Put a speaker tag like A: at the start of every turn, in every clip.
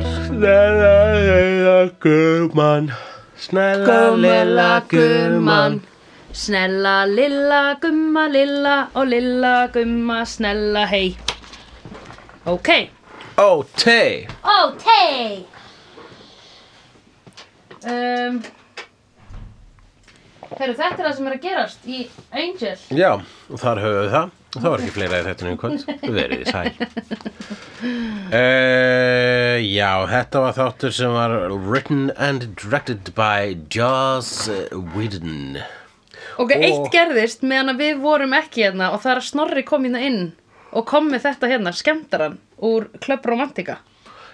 A: Snæla lilla guðmann Snæla lilla guðmann
B: Snella lilla gumma lilla og lilla gumma snella hei Ok,
A: Ó, tei
B: ó tei um, Heru, Þetta er það sem er að gerast í Angel
A: Já, og þar höfum við það og það var ekki fleira í þetta um kvöld verið í sæl uh, Já, þetta var þáttur sem var written and directed by Joss Whedon
B: Ok, eitt gerðist meðan að við vorum ekki hérna og það er að Snorri kom hérna inn og kom með þetta hérna, skemmtaran úr Club Romantica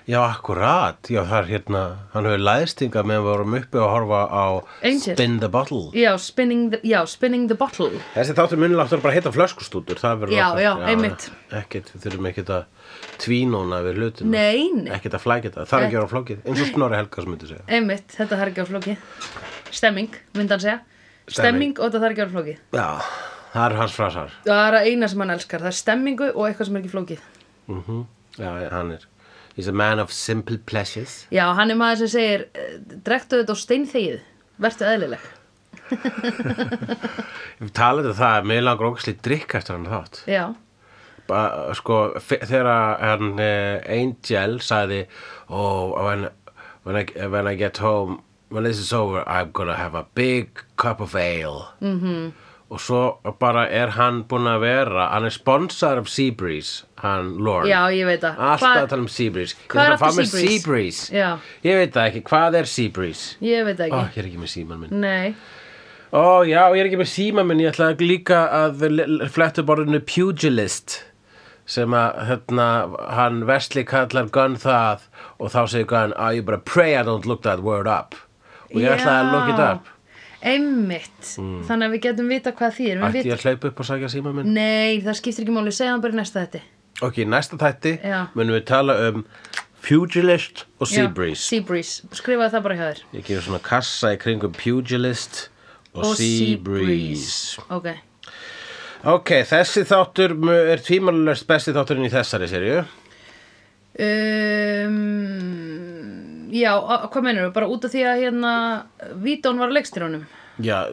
A: Já, akkurat, já, það er hérna hann hefur læðstinga meðan við vorum uppi að horfa á
B: Angel.
A: Spin the Bottle
B: Já, Spinning the, já, spinning the Bottle
A: Þessi þáttur munilega áttur bara að heita flöskustútur það verður
B: Já,
A: okkar-
B: já, einmitt.
A: Ekkert, við þurfum ekkert að tvínóna við hlutina
B: Nei, nei.
A: Ekkert að flækja þetta, það er ekki að vera flókið eins og Snorri Helga sem myndi segja
B: Einmitt, þetta þarf ekki að vera flókið Stemming, myndi hann segja Stemming, og þetta þarf ekki að vera flókið
A: Já, það eru hans frasar
B: Það er að eina sem hann elskar, það er stemmingu og eitthvað sem er ekki flókið
A: mm Já, hann er He's a man of simple pleasures
B: Já, hann er maður sem segir eh, Drektu þetta á steinþegið, vertu eðlileg
A: Við talaðum það að mig langar ógæsli drikk eftir hann þátt
B: Já,
A: ba, sko, fe- þegar hann uh, Angel sagði oh, when, when, I, when I get home when this is over I'm gonna have a big cup of ale mm
B: Mhm.
A: -hmm. og svo bara er hann búinn að vera hann er sponsor af Seabreeze hann Lorne
B: já, ég veit að
A: alltaf
B: Hvað-
A: að tala um Seabreeze Ég
B: Hvað er
A: þarf að fá
B: aftur
A: mér
B: Seabreeze?
A: Seabreeze
B: Já.
A: ég veit það ekki, hvað er Seabreeze?
B: Ég veit það
A: Ó,
B: ekki
A: ég er ekki með síman minn
B: Nei,
A: Ó, já, ég er ekki með síma minn, ég ætla líka að fletta borðinu pugilist sem að hérna, hann Vesli kallar Gunn það og þá segir Gunn, ah, you better pray I don't look that word up og ég ætla að look it
B: Já.
A: up
B: einmitt Þannig að við getum vita hvað því er
A: Hmm. Ætti ég að hlaupa upp og sækja síma minn?
B: Nei, það skiptir ekki máli, segja hann bara í næsta þetta
A: Ok, í næsta þætti
B: Já.
A: munum við tala um pugilist og seabreeze
B: Seabreeze, skrifaði það bara hjá þér
A: Ég gefur svona kassa í kringum pugilist og, seabreeze
B: Ok,
A: Ok, þessi þáttur mu- er tvímalulegst besti þátturinn í þessari serju
B: Um, já, a- hvað mennur Bara út af því að hérna Vítón var að leikstýrónum
A: Já,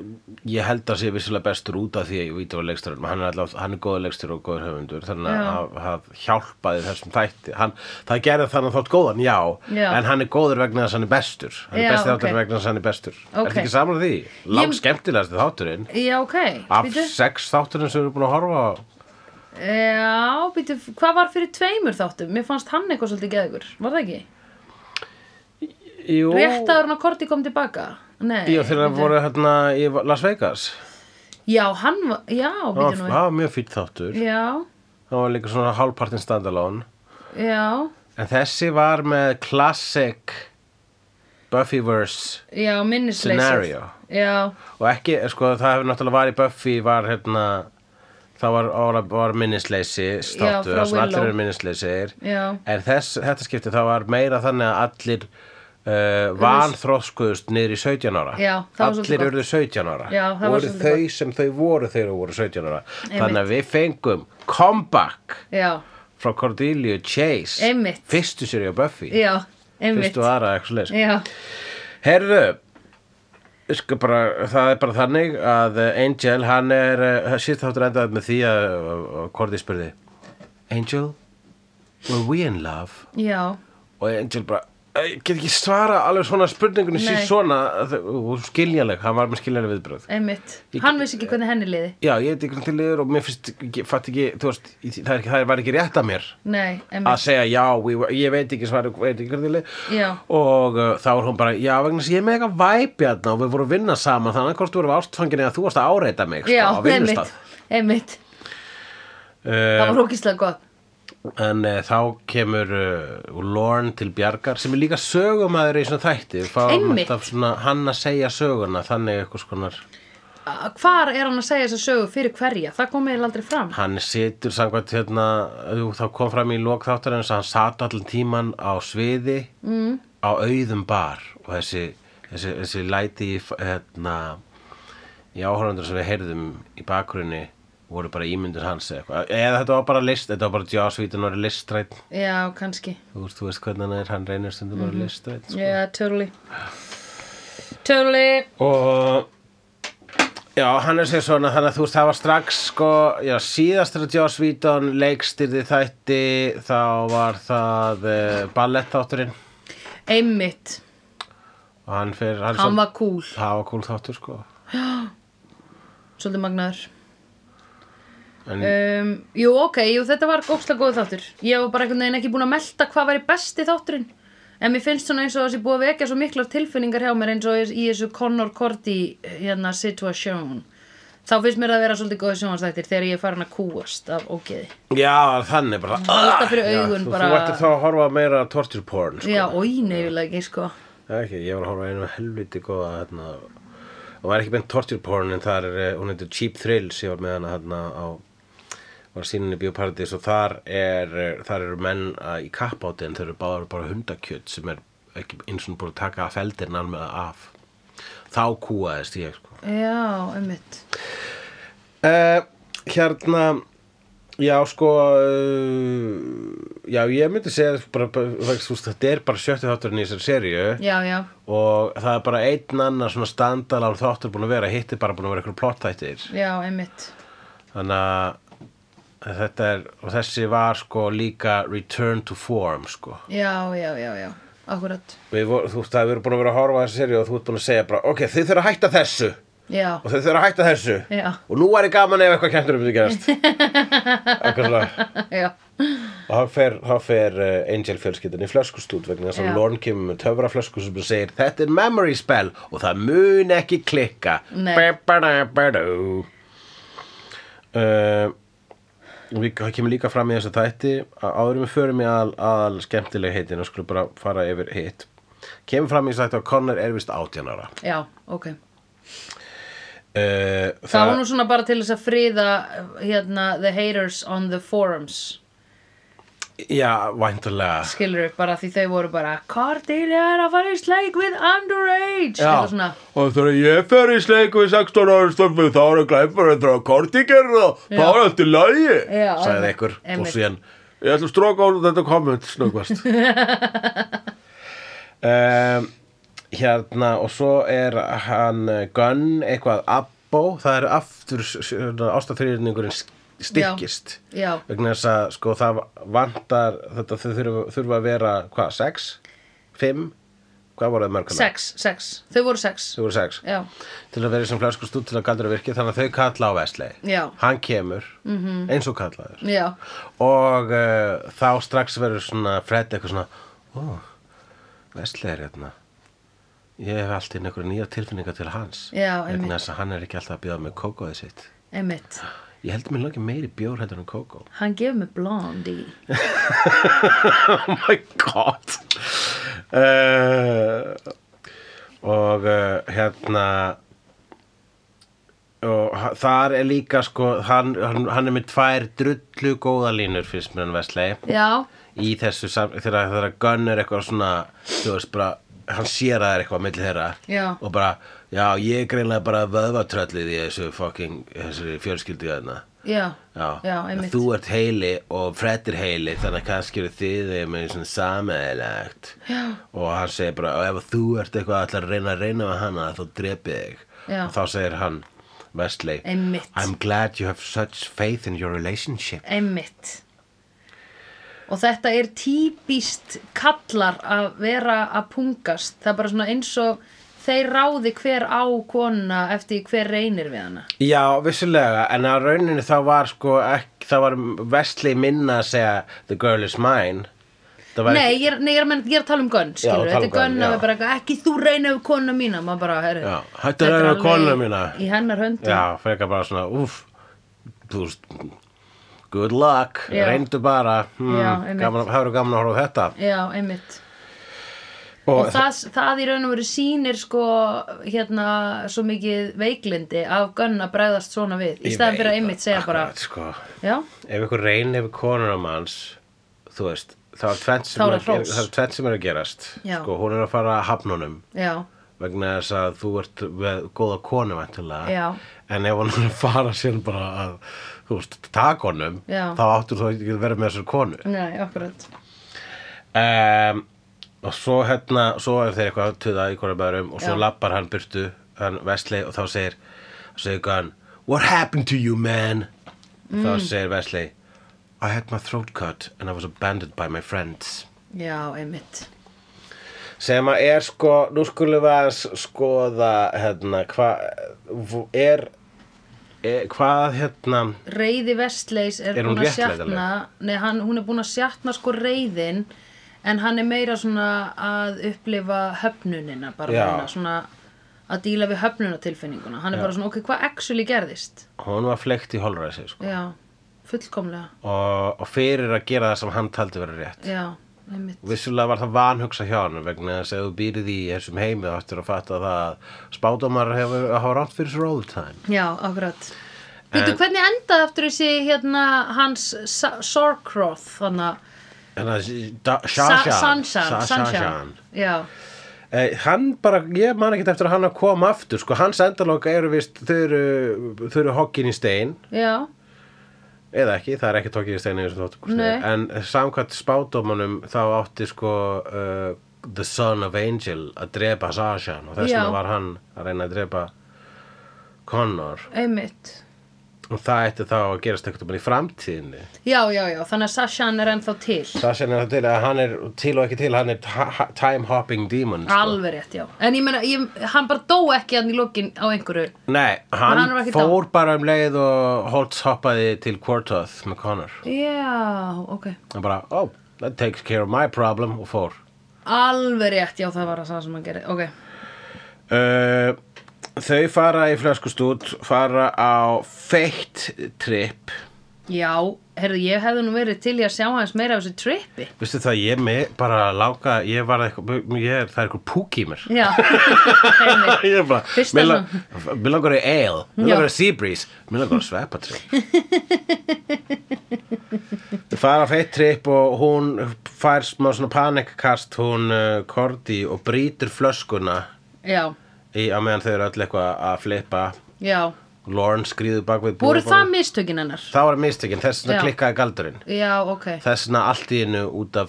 A: ég held að sé vissulega bestur út af því að ég veit að var leikstur hann er, alltaf, hann er góða leikstur og góður höfundur þannig
B: Já.
A: að það hjálpaði þessum þætti hann, það gerði þannig þátt góðan, já,
B: Já.
A: en hann er góður vegna þess að hann er bestur hann
B: Já,
A: er besti
B: ok.
A: þátturinn vegna þess að hann er bestur
B: Ok.
A: Ertu ekki saman að því? Lang skemmtilegasti þátturinn
B: Já, ok,
A: af
B: býtu
A: sex þátturinn sem við erum búin að horfa á
B: Já, býtu, hvað var fyrir tveimur þáttum? Mér fannst hann eitthvað svolítið geðugur, var það ekki?
A: Jú,
B: Rétt áður en að Korti kom tilbaka Nei,
A: Bíó þegar það
B: bíddu.
A: voru hérna í Las Vegas
B: Já, hann var, já,
A: Það var-
B: býtu nú
A: það var mjög fýtt þáttur
B: Já,
A: Það var líka svona hálfpartin standalone
B: já,
A: En þessi var með classic Buffyverse
B: já, minnisleysið
A: Scenario.
B: Já,
A: og ekki, sko, það hefur náttúrulega var í Buffy var hérna það var, var, var minnisleysi státu,
B: frá
A: það sem allir
B: Willow.
A: eru minnisleysir
B: Já.
A: en þess, þetta skipti það var meira þannig að allir uh, vanþróskuðust niður í 17 ára
B: Já, það var svolítið
A: allir
B: gott.
A: urðu 17 ára
B: Já, það var
A: voru
B: svolítið
A: þau sem þau voru þegar þau voru 17 ára þannig að við fengum comeback
B: já,
A: frá Cordelia Chase
B: Einmitt.
A: fyrstu sér á Buffy
B: já, einmitt
A: fyrstu aðra eitthvað leys
B: Já,
A: Herðu sko bara, það er bara þannig að eh, Angel, hann er eh, síðst þáttur endaði með því að eh, Cordy spurði Angel, were we in love?
B: já,
A: og Angel bara "Eh, ég get ekki svara alveg svona spurningunni
B: Nei.
A: síðan svona að þau- og skiljanleg, hann var með skiljanleg viðbröð
B: einmitt
A: Ég-
B: Hann vissi ekki hvernig henni liði
A: já, ég veit ekki til yfir og mér finnst ég fatt ekki, þú veist, í- það, er ekki, það var ekki rétt að mér
B: Nei,
A: að
B: einmitt
A: segja já, we were, ég veit ekki svara veit ekki hvernig leið.
B: Já.
A: og uh, þá er hún bara, já vegna þess að ég er með eitthvað væpjarn og við vorum að vinna saman þannig að hvort þú vorum ástfangin eða þú varst að áreita mig sko,
B: Já,
A: á vinnustað
B: einmitt, einmitt Það
A: uh,
B: var sko. rókislega gott
A: en uh, þá kemur uh, Lorne til Bjargar sem er líka sögumæður í svona þætti Við fáum
B: Einmitt.
A: alltaf svona, hann að segja söguna þannig eitthvað skonar
B: Að- Hvar er hann að segja þessa sögu fyrir hverja? Það kom eiginlega aldrei fram
A: hann situr samkvæmt hérna jú, þá kom fram í lok þáttar eins að hann sat allan tíman á sviði mm. á auðum bar og þessi, þessi, þessi læti í f- hérna, í áhörundur sem við heyrðum í bakgrunni voru bara ímyndin hans eða eitthvað eða þetta var bara list, þetta var bara Joss Whedon var listrætt
B: Já, kannski.
A: þú veist, þú veist hvernig hann er, hann reynir stundum mm bara listrætt sko.
B: Yeah, totally. Totally.
A: og já, hann er sér svona þannig að þú veist, það var strax sko, já, síðastra Joss Whedon leikstýrði þætti þá var það uh, ballettþátturinn
B: Einmitt.
A: og hann fyrir, hann,
B: Hann var cool.
A: það var cool þáttur sko
B: Svolítið magnaður.
A: en
B: Um, jú, ok, jú, þetta var góðslega góð þáttur. Ég var bara einhvern veginn ekki búin að melta hvað væri besti þátturinn. En mér finnst svona eins og þessi búið að vekja svo miklar tilfinningar hjá mér eins og í þessu Connor Cordy hérna situation. Þá finnst mér það vera svolítið góði sjónvarsþættir þegar ég er farin að kúast af ógeði.
A: já, þannig bara ah,
B: Alltaf fyrir
A: Já,
B: augun
A: þú,
B: bara-
A: þú ættir þá að horfa meira á torture porn sko.
B: Já, oi, neyfilega ekki, sko.
A: ekki, ég var að horfa á einu helviti góða hérna, og var ekki beint torture porn en þar er, eh, hún heitir Cheap Thrills ég var með hana hérna á var síninni bioparadís og þar er eh, þar eru menn að, í kappáti en þau eru báðar bara hundakjöt sem er ekki eins og búin að taka að feldin alveg af þá kúaðist ég sko
B: Já, einmitt.
A: Uh, hérna Já, sko uh, Já, ég myndi segja bara, bara, vegst, þú veist, Þetta er bara sjötti þátturinn í þessari seríu
B: Já, já,
A: Og það er bara einn annar svona standalán þáttur búin að vera Hitt er bara búin að vera eitthvað plottættir
B: já, einmitt.
A: Þannig að þetta er Og þessi var sko líka Return to form, sko
B: Já, já, já, já, akkurat.
A: Við, vor- Þú veist, það er búin að vera að horfa á þessari seríu Og þú ert búin að segja bara, ok, þið þurfa að hætta þessu
B: Já,
A: og þau þurfa að hætta þessu
B: Já.
A: og nú er ég gaman ef eitthvað kentur um þetta gerast eitthvað svona
B: já,
A: og þá fer, þá fer uh, Angel fjölskyldan í flöskustút vegna þess
B: Já.
A: að Lorne kemur með töfraflösku sem segir þetta er memory spell og það mun ekki klikka
B: Nei.
A: Ba-ba-da-ba-dú. uh, og við það kemur líka fram í þessu þætti að áðurum við förum í aðal, aðal skemmtileg heitin og skulum bara fara yfir hitt kemur fram í þessu þætti að Connor er vist 18 ára uh,
B: já, ok.
A: það,
B: Það var nú svona bara til þess að friða hérna the haters on the forums
A: Já, væntulega
B: skilur upp bara því þau voru bara Cordelia er að fara í sleik with underage eitthvað svona
A: og þegar ég fer í sleik við 16 ára stofnum þá eru glæpar en þegar Korti gerir það, þá er allt í lagi
B: Já,
A: sagði
B: einmitt,
A: einhver og
B: einmitt.
A: síðan ég ætla að stróka á þetta komment snöggvast um, hérna og svo er hann eh, Gunn eitthvað Abbo það er aftur hérna, ástafyrirningurinn styrkist
B: Já, já.
A: vegna þess að sko það vantar þetta þau þurfa, þurfa að vera hvað, 6? 5? hvað voru það mörgum?
B: sex, sex, þau voru sex
A: þau voru 6
B: já,
A: til að vera í sem flöskustút til að galdur að virki þannig að þau kalla á Vesley
B: Já. Mhm.
A: hann kemur -hmm. eins og kallaður
B: já,
A: og uh, þá strax verður svona Fred eitthvað svona ó, Vesley er hérna ég hef allt inn einhverja nýja tilfinninga til hans
B: Já, einmitt.
A: vegna þess að hann er ekki alltaf að býða með kókóði sitt
B: einmitt
A: ég heldur mér langi meiri bjór heldur en kókó
B: Hann gefur mig blondie
A: oh my god uh, og uh, hérna og ha- þar er líka sko, hann, hann, hann er með tvær drullu góða línur fyrst mér hann Vesley
B: Já,
A: í þessu sam- þegar þegar Gunn er eitthvað svona þú veist bara hann sér að það er eitthvað milli þeirra
B: Já.
A: og bara, já ég er greinlega bara vöðvatröllið í þessu fucking þessari fjölskyldu hérna. þarna
B: já,
A: Já,
B: einmitt
A: þú ert heili og Fred er heili þannig að kannski eru þið þegar með svona sameðilegt og hann segir bara "Og ef þú ert eitthvað að ætla að reyna að reyna með hana þá drepi þig
B: Já.
A: og þá segir hann Wesley
B: Einmitt.
A: I'm glad you have such faith in your relationship
B: Einmitt Og þetta er típist kallar að vera að pungast. Það er bara svona eins og þeir ráði hver á konuna eftir því hver reynir við hana.
A: Já, vissulega, en á rauninu þá var sko ekki, þá var Wesley minna að segja The girl is mine Það var
B: Nei, ég, er- nei ég, er, að menn, ég er að tala um gönn, skilur.
A: tala um
B: Þetta er gönn
A: gönn,
B: að
A: já.
B: við bara eitthvað, ekki þú reyna við konuna mína. Maður bara, herri.
A: Já, hættu að reyna við konuna mína.
B: Í hennar höndum.
A: Já, frekar bara svona, úff, þú veist, good luck,
B: Já.
A: reyndu bara, hmm,
B: Já, einmitt.
A: gaman, það eru gaman að horfa á þetta.
B: Já, einmitt.
A: Og,
B: Og það, það í raun og veru sýnir sko hérna svo mikið veiklindi af gönn að bregðast svona við. Í
A: Ég
B: staðan fyrir
A: veit
B: að einmitt segja bara,
A: Akkurat, sko,
B: já,
A: ef ykkur reynir við konuna manns, þú veist, þá er tvennt sem,
B: Þá er
A: er
B: það
A: að gera-
B: hrós.
A: það er tvennt sem er að gerast.
B: Já.
A: Sko, hún er að fara að hafnunum
B: já,
A: vegna þess að þú ert með góða konu vantilega
B: Já.
A: en ef hann er að fara sér bara að þú veist, taka honum
B: Já.
A: þá áttur þú ekki að vera með þessar konu
B: Nei, akkurat.
A: um, og svo hérna svo er þeir eitthvað að tuða í hverju bærum og svo
B: Já.
A: lappar hann burtu hann Wesley og þá segir, segir hann, what happened to you man
B: Mm.
A: þá segir Wesley I had my throat cut and I was abandoned by my friends
B: Já, einmitt.
A: sem að er sko nú skulum við að skoða hérna hvað er, er hvað hérna
B: Reyði Vestleys er,
A: Er hún
B: búin að
A: réttlætanleg?
B: sjatna, nei, hann, hún er búin að sjatna sko reyðin, en hann er meira svona að upplifa höfnunina, bara
A: Já.
B: meina, svona að díla við höfnunatilfinninguna. Hann er bara svona, ok, hvað actually gerðist?
A: hún var flekt í holræsi sko.
B: Já, fullkomlega.
A: og, og fyrir að gera það sem hann taldi verið rétt
B: Já, einmitt.
A: Vissulega var það vanhugsa hjá hann vegna þess að ef þú býrið í þessum heimi þá ættir að fatta það að spátumar hefur að hafa rátt fyrir sér all the time.
B: Já, akkurat.
A: Eh.
B: Býtu, hvernig endaði aftur þessi hérna hans Sa- Sorcroth, þannig að
A: En það er Shashan.
B: Sanshan, Sanshan. Já,
A: Eh, hann bara, ég man ekki eftir að hann að koma aftur, sko, hans endaloka eru vist, þau eru, þau eru hokkin í stein,
B: já,
A: eða ekki, það er ekki hokkin í stein eins og þótt,
B: Nei.
A: en samkvæmt spátumunum þá átti sko uh, The Son of Angel að drepa Sashan og þess
B: Já.
A: vegna var hann að reyna að drepa Connor.
B: einmitt.
A: Og það ætti þá að gerast einhvern veginn í framtíðinni.
B: Já, já, já, þannig að Sashan er ennþá til.
A: Sasha er það til að hann er til og ekki til, hann er ta- ha- time hopping demon. sko.
B: Alveg rétt, já. En ég meina, ég, hann bara dó ekki hann í lokin á einhverju.
A: Nei,
B: Og
A: hann,
B: hann var ekki
A: fór bara um leið og Holtz hoppaði til Quartoth með Connor.
B: Já, ok.
A: Hann bara, oh, that takes care of my problem og fór.
B: Alveg rétt, já, það var það sem hann gerði. Ok,
A: Uh, þau fara í flöskustút, fara á feitt trip.
B: já, herðu, ég hefði nú verið til í að sjá hans meira af þessu trippi.
A: Vistu það, ég með bara langa, ég var eitthvað, ég, það er eitthvað púk í mér.
B: Já, einmitt.
A: ég er bara,
B: Fyrsta
A: mér lang- mér langar í ale, mér
B: Já.
A: langar í sea breeze, mér langar í sveppatrip. Þau fara feitt trip og hún fær smá svona panikkast, hún uh, kordi og brýtur flöskuna
B: Já,
A: í, á meðan þau eru öll eitthvað að flippa.
B: já.
A: Lauren skrýður bak við
B: Voru
A: borðið.
B: það mistökin hennar?
A: Það var mistökin, þess
B: Já.
A: vegna klikkaði galdurinn.
B: Já, ok.
A: Þess vegna allt í innu út af,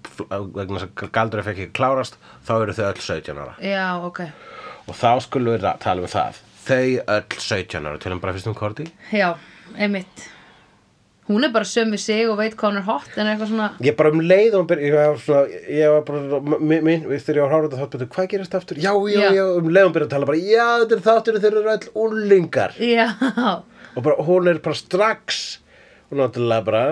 A: vegna þess að galdurinn fekk ekki klárast, þá eru þau öll 17 ára.
B: Já, ok.
A: Og þá skulum við ra- tala um það. Þau öll 17 ára, tölum bara fyrst um Korti.
B: Já, einmitt. Hún er bara söm við sig og veit hvað hún er hot en eitthvað svona,
A: Ég bara um leið og hún byrja, ég var svona, ég var bara, minn, minn, þegar ég var hárað að þátt, betur, hvað gerist aftur? Já, já,
B: Já.
A: já, um leið og hún byrja að tala bara, já, þetta er þáttur þeir eru öll úlingar.
B: já,
A: Og bara, hún er bara strax, hún er náttúrulega bara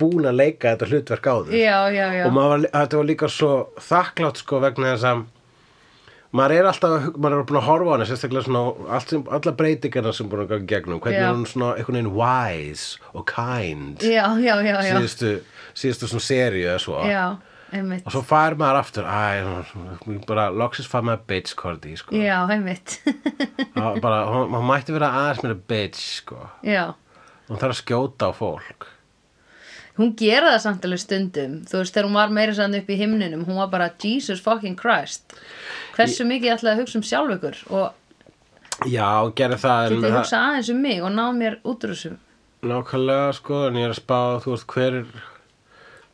A: búin að leika þetta hlutverk á þau.
B: já, já, já,
A: Og maður var, þetta var líka svo þakklátt, sko, vegna þess að maður er alltaf, að hug- maður er búin að horfa á hana, sérstaklega svona, allt sem, alla breytingarna sem búin að ganga í gegnum, hvernig
B: Já.
A: hún svona einhvern veginn wise og kind.
B: já, já, já, já,
A: síðustu, síðustu svona seríu eða svo
B: já, einmitt,
A: og svo fær maður aftur æ, hún- bara loksins fær maður bitch korti sko.
B: já, einmitt,
A: Það var bara, hún, hún mætti vera aðeins meira bitch sko.
B: já.
A: hún þarf að skjóta á fólk
B: Hún gera það samt alveg stundum, þú veist, þegar hún var meira sann upp í himninum, hún var bara Jesus fucking Christ. Hversu mikið ég ætlaði að hugsa um sjálf ykkur og
A: já, og gerði það en
B: getið
A: það-
B: hugsa aðeins um mig og náð mér út úr þessum.
A: nákvæmlega sko, en ég er að spá þú veist, hver,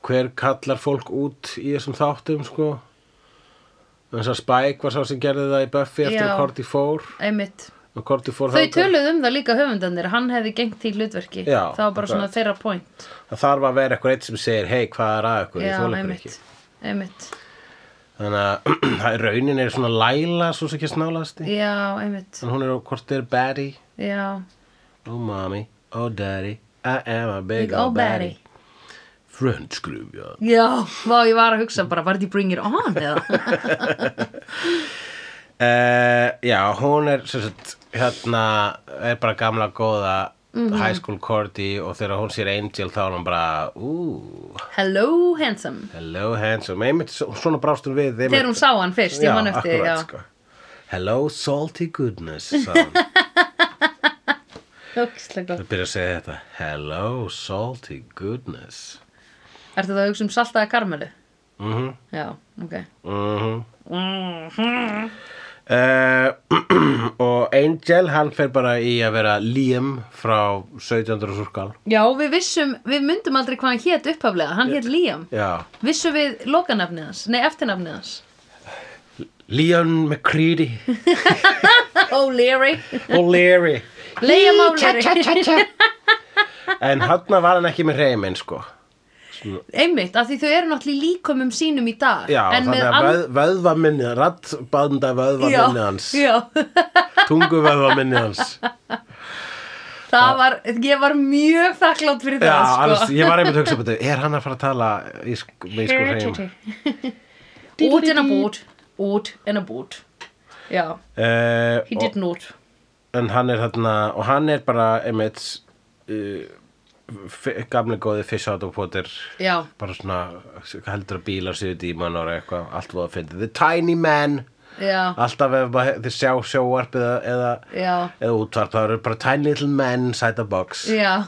A: hver kallar fólk út í þessum þáttum sko þess að Spike var sá sem gerði það í Buffy eftir
B: Já.
A: að Korti fór
B: Einmitt.
A: og Korti fór
B: Þau
A: þangað.
B: töluðu um það líka höfundandir, hann hefði gengt í hlutverki.
A: Já,
B: það var bara svona
A: akkurat.
B: þeirra point.
A: það þarf að vera eitthvað eitt sem segir hei, hvað er að ykkur, ég þóla ykkur ekki
B: einmitt.
A: Þannig að það er- raunin er svona læla svo sem ekki snálaðasti.
B: Já, einmitt.
A: En hún er á hvort þið er baddie,
B: Já,
A: oh mommy, oh daddy, I am a big
B: Big
A: old
B: old
A: baddie. French grufja.
B: já, vá, ég var að hugsa bara, var þetta í Bring It On eða?
A: Uh, já, hún er sem sagt, hérna, er bara gamla góða
B: Mhm.
A: high school Cordy og þegar hún sér Angel þá er hún bara, ú,
B: Hello, handsome.
A: hello handsome. Einmitt svo- svona brást hún við.
B: Þegar hún sá hann fyrst, ég man eftir,
A: akkurat,
B: já.
A: Sko. Hello salty goodness, sagði hún.
B: Hugslega.
A: Það byrja að segja þetta Hello salty goodness
B: Ertu það að hugsa um saltaða karmelu?
A: Mhm,
B: Já, ok.
A: mhm
B: Mhm.
A: Uh, og Angel hann fer bara í að vera Liam frá 1700 surkal
B: Já, við vissum, við myndum aldrei hvað hann hét upphaflega, hann hét Liam.
A: já,
B: Vissum við lokanafnið hans, nei eftirnafnið hans.
A: Liam McCready
B: O'Leary.
A: og Larry
B: Liam O'Leary.
A: en hann var hann ekki með reymin sko
B: Einmitt, af því þau eru náttúrulega í líkumum sínum í dag.
A: já,
B: en
A: þannig
B: með
A: að
B: an-
A: vöð, vöðvaminni rattbanda vöðvaminni hans
B: Já,
A: tunguvöðvaminni hans
B: það var, ég var mjög þakklátt fyrir
A: já,
B: það, sko.
A: alls, ég var einmitt að hugsa um þetta er hann að fara að tala í, sk- með sko reym
B: Út en að bút, út en að bút. Já, he
A: uh,
B: did not.
A: en hann er þarna og hann er bara einmitt uh, f- gamli góði fish out of water
B: Já,
A: bara svona heldur að bílar séu díman og eitthvað, allt voða að fyndi the tiny man,
B: já,
A: alltaf ef bara þið sjá sjóvarp eða, eða,
B: já,
A: eða útvarp, það eru bara tiny little men inside a box
B: já.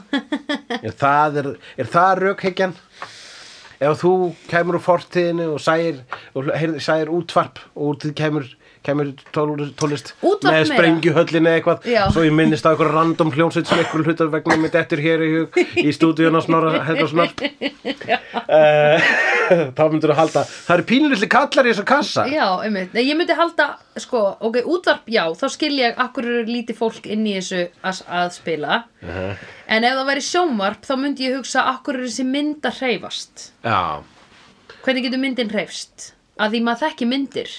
A: er það, er, er það rökhyggjan ef þú kemur úr fortíðinu og sæir, og heyrð- sæir útvarp og úr því kemur, kemur tól- tólist
B: Útvarp
A: með
B: meira.
A: sprengjuhöllinni eða eitthvað
B: Já.
A: svo ég minnist á eitthvað random hljónsveit sem eitthvað hlutar vegna mitt eftir hér í, hug í stúdíun á snorra helgarsnar þá myndur þú halda það eru pínlítið kallar í þessu kassa
B: Já, einmitt. Nei, ég myndi halda, sko, ok, útvarp, já, þá skil ég akkur eru lítið fólk inn í þessu að, að spila. En ef það væri sjónvarp, þá myndi ég hugsa akkur eru þessi mynd að hreyfast.
A: já,
B: Hvernig getur myndin hreyfst? Að því maður þekki myndir.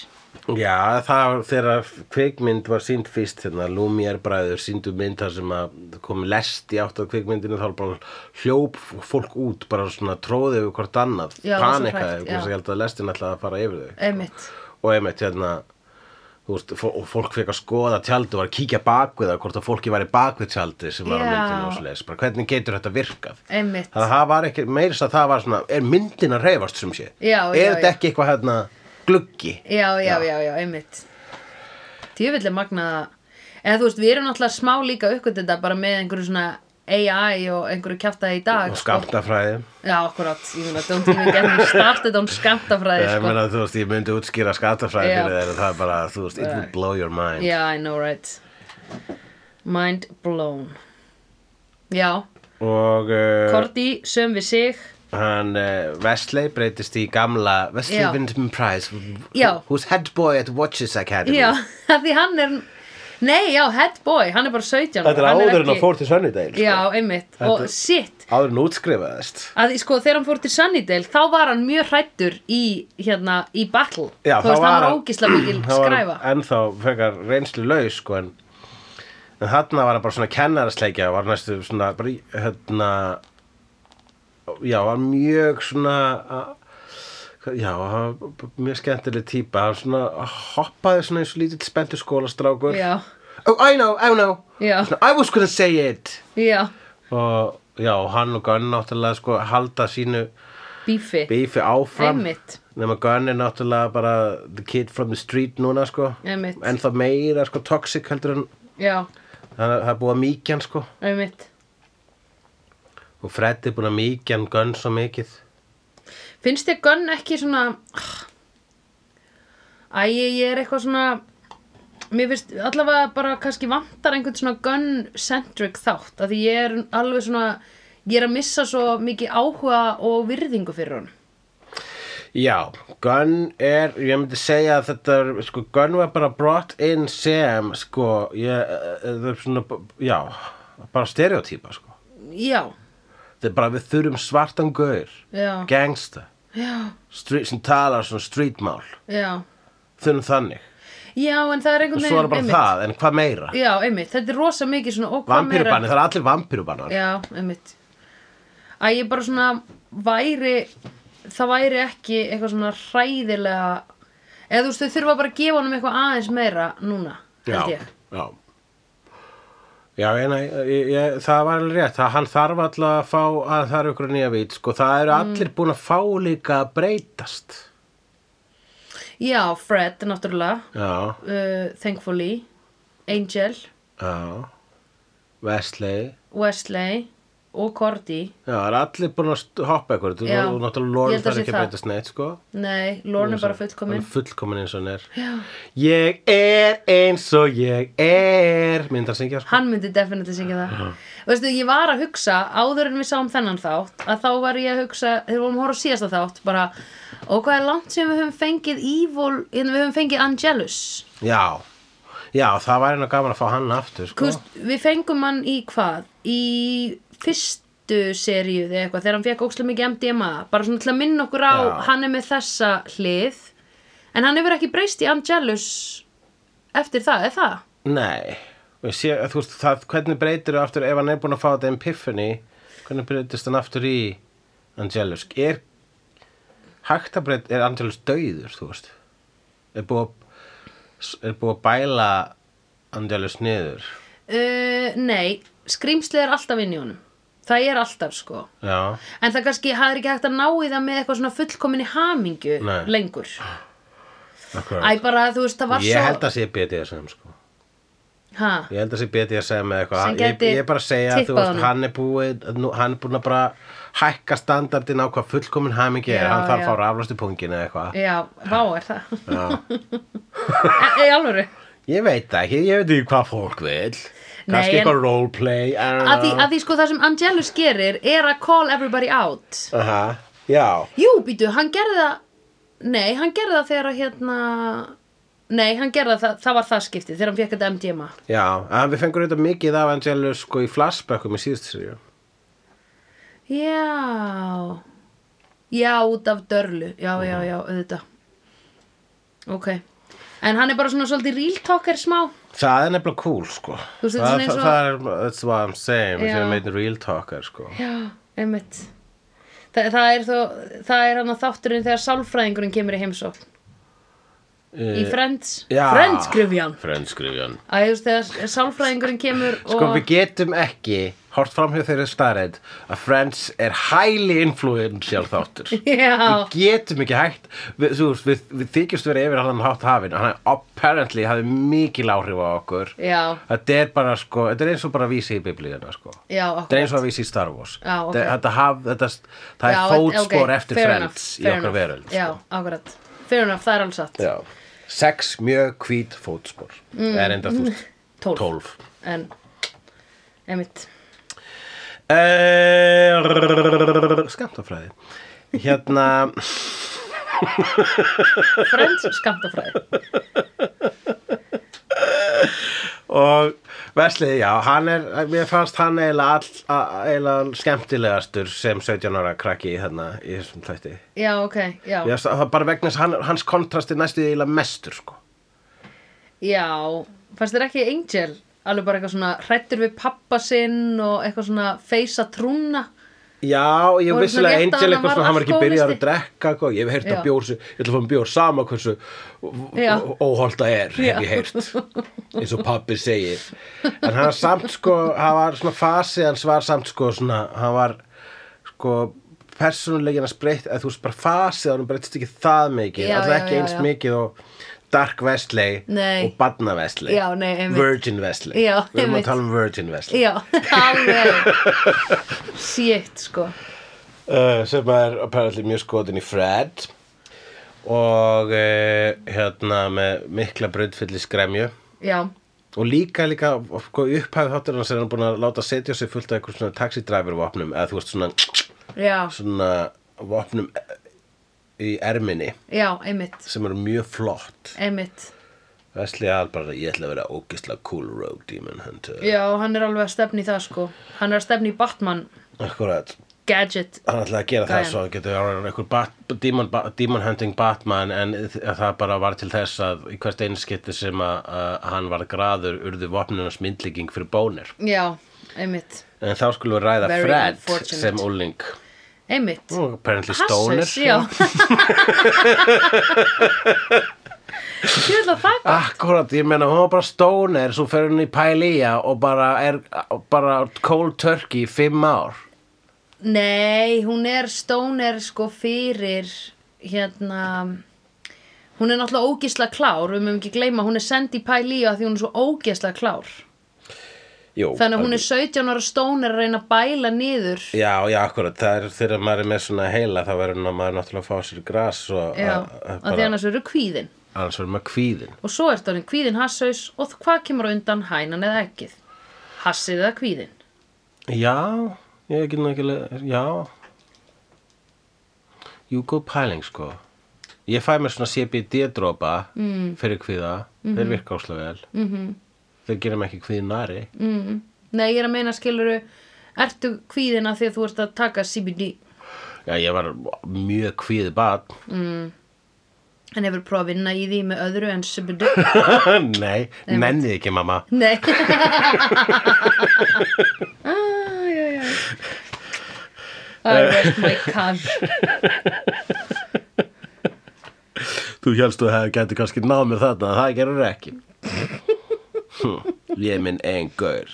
A: Já, það var þegar kvikmynd var sínd fyrst hérna, Lumière bræður síndu mynd þar sem að kom lest í átt að kvikmyndinu þá bara hljóp fólk út bara svona tróði yfir hvort annað
B: Já, það var svo hrætt,
A: panikaði,
B: já.
A: þess að ég held að lestin ætlaði að fara yfir þau
B: Einmitt.
A: og einmitt hérna þú veist, fó- og fólk fekk að skoða tjaldu var að kíkja bakvið það, hvort að fólki væri bakvið tjaldi sem var á
B: Já.
A: myndinu og svoleiðis bara hvernig getur þetta virkað
B: Einmitt.
A: þannig að það var ekki, meirist að það var svona er myndin að reyfast sem sé
B: Já, já,
A: er þetta
B: já.
A: ekki eitthvað hérna gluggi
B: Já, já, já, já, einmitt. Tjöfell er magnað að... Eða þú veist, við erum náttúrulega smá líka uppgötenda bara með einhverju svona AI og einhverju kjaftaði í dag.
A: og
B: sko.
A: skamtafræði
B: Já, akkurat. Ég meina, don't even get me started on skamtafræði,
A: Ég
B: sko.
A: meina, þú veist, ég myndi útskýra skattafræði
B: Já.
A: fyrir þeir og það er bara, þú veist, it will blow your mind.
B: Yeah, I know, right. Mind blown. Já,
A: Og uh,
B: Korti, söm við sig.
A: hann, uh, Wesley breytist í gamla Wesley
B: Já.
A: Wyndham Price,
B: Já.
A: who's head boy at Watches Academy.
B: Já, af því hann er... Nei, já, head boy, hann er bara 17.
A: Þetta er
B: hann
A: áður en
B: ekki-
A: að fór til Sunnydale, sko.
B: Já, einmitt. Og
A: Þetta-
B: sitt.
A: áður en útskrifaðist.
B: að því, sko þegar hann fór til Sunnydale þá var hann mjög hrættur í hérna í battle
A: Já,
B: þú veist
A: þá
B: hann
A: var
B: var
A: hann-
B: ógisla mikil
A: Það var
B: skræfa
A: ennþá frekar reynslu laus, sko, en, en þarna var hann bara svona kennarasleikja, var næstu svona, bara, í- hérna, já, var mjög svona, a- hvað- já, hann var b- mjög skemmtileg típa, hann svona hoppaði svona eins og lítill spenntur skólastrákur.
B: já,
A: Oh, I know, I know,
B: Já.
A: Svona, I was gonna say it.
B: já,
A: Og já, hann og Gunn náttúrulega, sko, halda sínu
B: bífi
A: bífi áfram.
B: einmitt,
A: Nefna Gunn er náttúrulega bara the kid from the street núna sko
B: Einmitt.
A: En það meira sko toxic heldur en
B: já,
A: það það er búið að mýkja hann sko
B: einmitt
A: Og Fred er búin að mýkja hann Gunn svo mikið
B: finnst þér Gunn ekki svona æ, ég er eitthvað svona mér finnst allavega bara kannski vantar einhvern svona Gunn-centric þátt af því ég er alveg svona ég er að missa svo mikið áhuga og virðingu fyrir hann
A: Já, Gunn er, ég myndi segja að þetta er, sko, Gunn var bara brought in sem, sko, ég, eh, eh, það er svona, já, bara stereotýpa, sko.
B: já,
A: Þetta er bara við þurfum svartan gaur,
B: já,
A: gangsta,
B: já,
A: street, sem talar svona streetmál,
B: já
A: þurfum þannig.
B: Já, en það er
A: Og
B: einhvern
A: svo er bara
B: einmitt.
A: það, en hvað meira?
B: Já, einmitt, þetta er rosa mikið svona og hvað meira-
A: Vampírubanni, það er allir vampírubannar.
B: Já, einmitt Að ég bara svona væri það væri ekki eitthvað svona hræðilega eða þú veist, þau þurfa bara að gefa honum eitthvað aðeins meira núna, held ég
A: já. Já, en það var alveg rétt, það, hann þarf alltaf að fá að það eru ykkur nýja vít, sko, það
B: Mm.
A: eru allir búin að fá líka að breytast.
B: Já, Fred, náttúrulega
A: Já,
B: uh, Thankfully Angel,
A: já, Wesley,
B: Wesley og Cordy
A: Já, það er allir búin að st- hoppa eitthvað Þú
B: Já.
A: þú-
B: Ég
A: náttúrulega Lorne
B: held að
A: þarf
B: sé
A: ekki að
B: það.
A: breytast neitt sko
B: Nei, Lorne er bara
A: Hann
B: fullkomin
A: er Fullkomin eins og hann er
B: Já.
A: Ég er eins og ég er Myndar að syngja sko
B: Hann myndi definitíð syngja það Veistu, ég var að hugsa, áður en við sáum þennan þátt að þá var ég að hugsa, þegar við vorum að horfa á síðasta þátt, bara og hvað er langt sem við höfum fengið evil en við höfum fengið Angelus
A: Já Já, það væri nú gaman að fá hann aftur sko
B: Kust, Við fengum hann í hvað? Í fyrstu seríu þegar eitthvað, þegar hann fekk ókslega mikið MDMA bara svona til að minna okkur á,
A: Já.
B: hann er með þessa hlið en hann hefur ekki breyst í Angelus eftir það, er það?
A: Nei Og sé, Þú veist, það, hvernig breytir þú aftur ef hann er búin að fá þetta Epiphany Hvernig breytist hann aftur í Angelus Er hægt að breyta, er Angelus döiður þú veist Er búið að er búið að bæla Angelus niður
B: Uh, nei, skrýmsli er alltaf inn í honum. Það er alltaf, sko.
A: Já,
B: En það kannski, það er ekki hægt að ná í það með eitthvað svona fullkominni hamingju
A: Nei.
B: lengur. Æ,
A: akkurat
B: bara, þú veist, það var
A: Ég
B: svo...
A: held að sé BDSM sko
B: Ha,
A: Ég held að sé BDSM
B: Sem
A: eða eitthvað ég,
B: gæti
A: ég er bara að segja að þú
B: tippað
A: veist,
B: honum.
A: hann er búið nú, Hann er búin að bara hækka standardin á hvað fullkomin hamingi er
B: Já,
A: Hann þarf
B: já.
A: að fá raflastu pungin eða eitthvað
B: já, vá er það. e, í alvöru.
A: Ég veit það ekki, ég veit ekki hvað fólk vil
B: Nei,
A: Kannski
B: en-
A: eitthvað roleplay I don't
B: Að því,
A: know.
B: að því, sko, það sem Angelus gerir er að call everybody out.
A: Aha, Já,
B: Jú, býtu, hann gerði það... Nei, hann gerði það þegar að hérna... Nei, hann gerði það, það var það skiptið, þegar hann fekk þetta MDMA.
A: já, en við fengum auðvitað mikið af Angelus sko í flashbackum í síðustu seríu
B: Já Já, út af dörlu Já, já, já, auðvitað Ok En hann er bara svona svolítið real talker smá
A: Það er nefnilega cool sko
B: Þú veist, þetta er svona
A: það,
B: eins
A: það,
B: og-
A: það er, that's what I'm saying Við
B: Já.
A: séum meitin real talker sko
B: Já, einmitt Þa, það, er þó, það er hann að þátturinn þegar sálfræðingurinn kemur í heimsókn Í Friends
A: Eh, Já.
B: Friends grifjan
A: Frenskrifjan
B: Æ, þú veist, þegar sálfræðingurinn kemur og
A: Sko við getum ekki hort framhjá þeirri starrend að Friends er highly influential þáttur.
B: Já,
A: Við getum ekki hægt, við, þú veist, við, við þykjumst verið yfir allan hátt hafin, hann er apparently hafði mikil áhrif á okkur.
B: já,
A: Þetta er bara sko, þetta er eins og bara vísi í biblíðina sko.
B: já
A: Þetta er
B: okkur
A: eins og að vísi í Star Wars.
B: Já, ok.
A: Þe- þetta, haf, þetta,
B: Já,
A: það er fótspor
B: ok,
A: eftir
B: fair
A: Friends
B: enough,
A: í
B: fair
A: okkur
B: enough.
A: veröld. sko.
B: Já, akkurat Fair enough, það er alls satt
A: Já. Sex mjög hvít fótspor. Mm. Er enda þú veist,
B: Tólf.
A: tólf.
B: En, einmitt
A: Eh, Skamtafræði Hérna,
B: Friends skamtafræði
A: og Veslið, já, hann er, mér fannst hann eiginlega all, a- eiginlega skemmtilegastur sem 17 ára krakki í þarna, í þessum þætti.
B: Já, ok, já,
A: Ég, það var bara vegna þess að hann, hans kontrasti næstu því eiginlega mestur, sko.
B: já Fannst þér ekki Angel alveg bara eitthvað svona hrættur við pappa sinn og eitthvað svona feisa trúna
A: Já, ég
B: Voru svona
A: vissilega
B: rétt
A: Angel
B: áður en
A: eitthvað
B: hann
A: svona,
B: var
A: hann var ekki byrjaður að
B: alkóhólisti.
A: drekka, eitthvað, ég hef heyrt
B: Já.
A: að bjór, sé- ég ætla að fá um bjór sama hversu
B: Já.
A: óholta er, hef ég heyrt, eins og pappi segir. En hann var samt sko, hann var svona fasi, hans var samt sko svona, hann var sko persónulegin að spreytt, að þú veist bara fasið, hann breytist ekki það mikið,
B: Já,
A: alltaf
B: já,
A: ekki
B: já,
A: eins
B: já.
A: mikið og Dark Wesley
B: Nei.
A: og Badna Wesley,
B: Já, nei, einmitt.
A: Virgin Wesley,
B: Já,
A: við erum
B: einmitt.
A: að tala um Virgin Wesley.
B: Já, alveg Shit, sko
A: uh, sem er apparently mjög skotin í Fred og uh, hérna með mikla bröðfylli skremju
B: Já,
A: og líka líka sko, upphæðu þáttur hans er hann búin að láta setja sig fullt af eitthvað svona taxidræfur vopnum eða þú veist svona,
B: já,
A: svona vopnum eh, í erminni
B: já, einmitt
A: sem eru mjög flott
B: Einmitt
A: Vesli Al bara ég ætla að vera ógisla cool rogue demon hunter
B: Já, hann er alveg að stefni það, sko Hann er að stefni í Batman
A: akkurat
B: Gadget
A: hann ætlaði að gera það
B: Gæjan.
A: svo hann getur orðið einhver bat, demon, ba- demon hunting Batman en þ- að það bara var til þess að í hvert einskipti sem að, að hann var graður urðu vopnunars myndlíking fyrir bónir
B: Já, einmitt
A: en þá skulum við ræða
B: Very
A: Fred
B: unfortunate.
A: sem úling
B: Einmitt
A: og apparently stoner
B: Hassus, já Ég vil að það
A: Akkurat, ég meina hún var bara stoner svo fer hún í Pælía og bara er bara cold turkey í fimm ár
B: Nei, hún er stóner sko fyrir hérna hún er náttúrulega ógisla klár við mögum ekki gleyma, hún er send í pæli að því hún er svo ógisla klár
A: Jú,
B: Þannig að hún
A: algjör-
B: er 17 ára stón er að reyna að bæla niður
A: Já, já, akkurat, það er þegar maður er með svona heila þá verður nú maður náttúrulega að fá sér gras og
B: Já,
A: að- að
B: að því
A: bara,
B: annars eru kvíðin
A: annars verður maður kvíðin
B: Og svo ertu orðin kvíðin hassaus og hvað kemur á undan hænan eða ekkið? Hassið eða kvíðin?
A: Já, ég get nú ekki le- já Jú, góð pæling sko Ég fæ mér svona CBD-dropa mm. fyrir kvíða, þeir virka áslega vel mm -hmm. þeir gera mig ekki kvíðinari
B: Mm. Nei, ég er að meina skiluru Ertu kvíðin að því að þú ert að taka CBD
A: Já, ég var mjög kvíð bad
B: En hefur prófað að vinna í því með öðru en CBD
A: Nei, nennið ekki mamma
B: Nei Æ, æ, æ. I rest my car
A: Þú hélst þú hefði gæti kannski náð mér þarna það gerur ekki Hm, Ég er minn einn gaur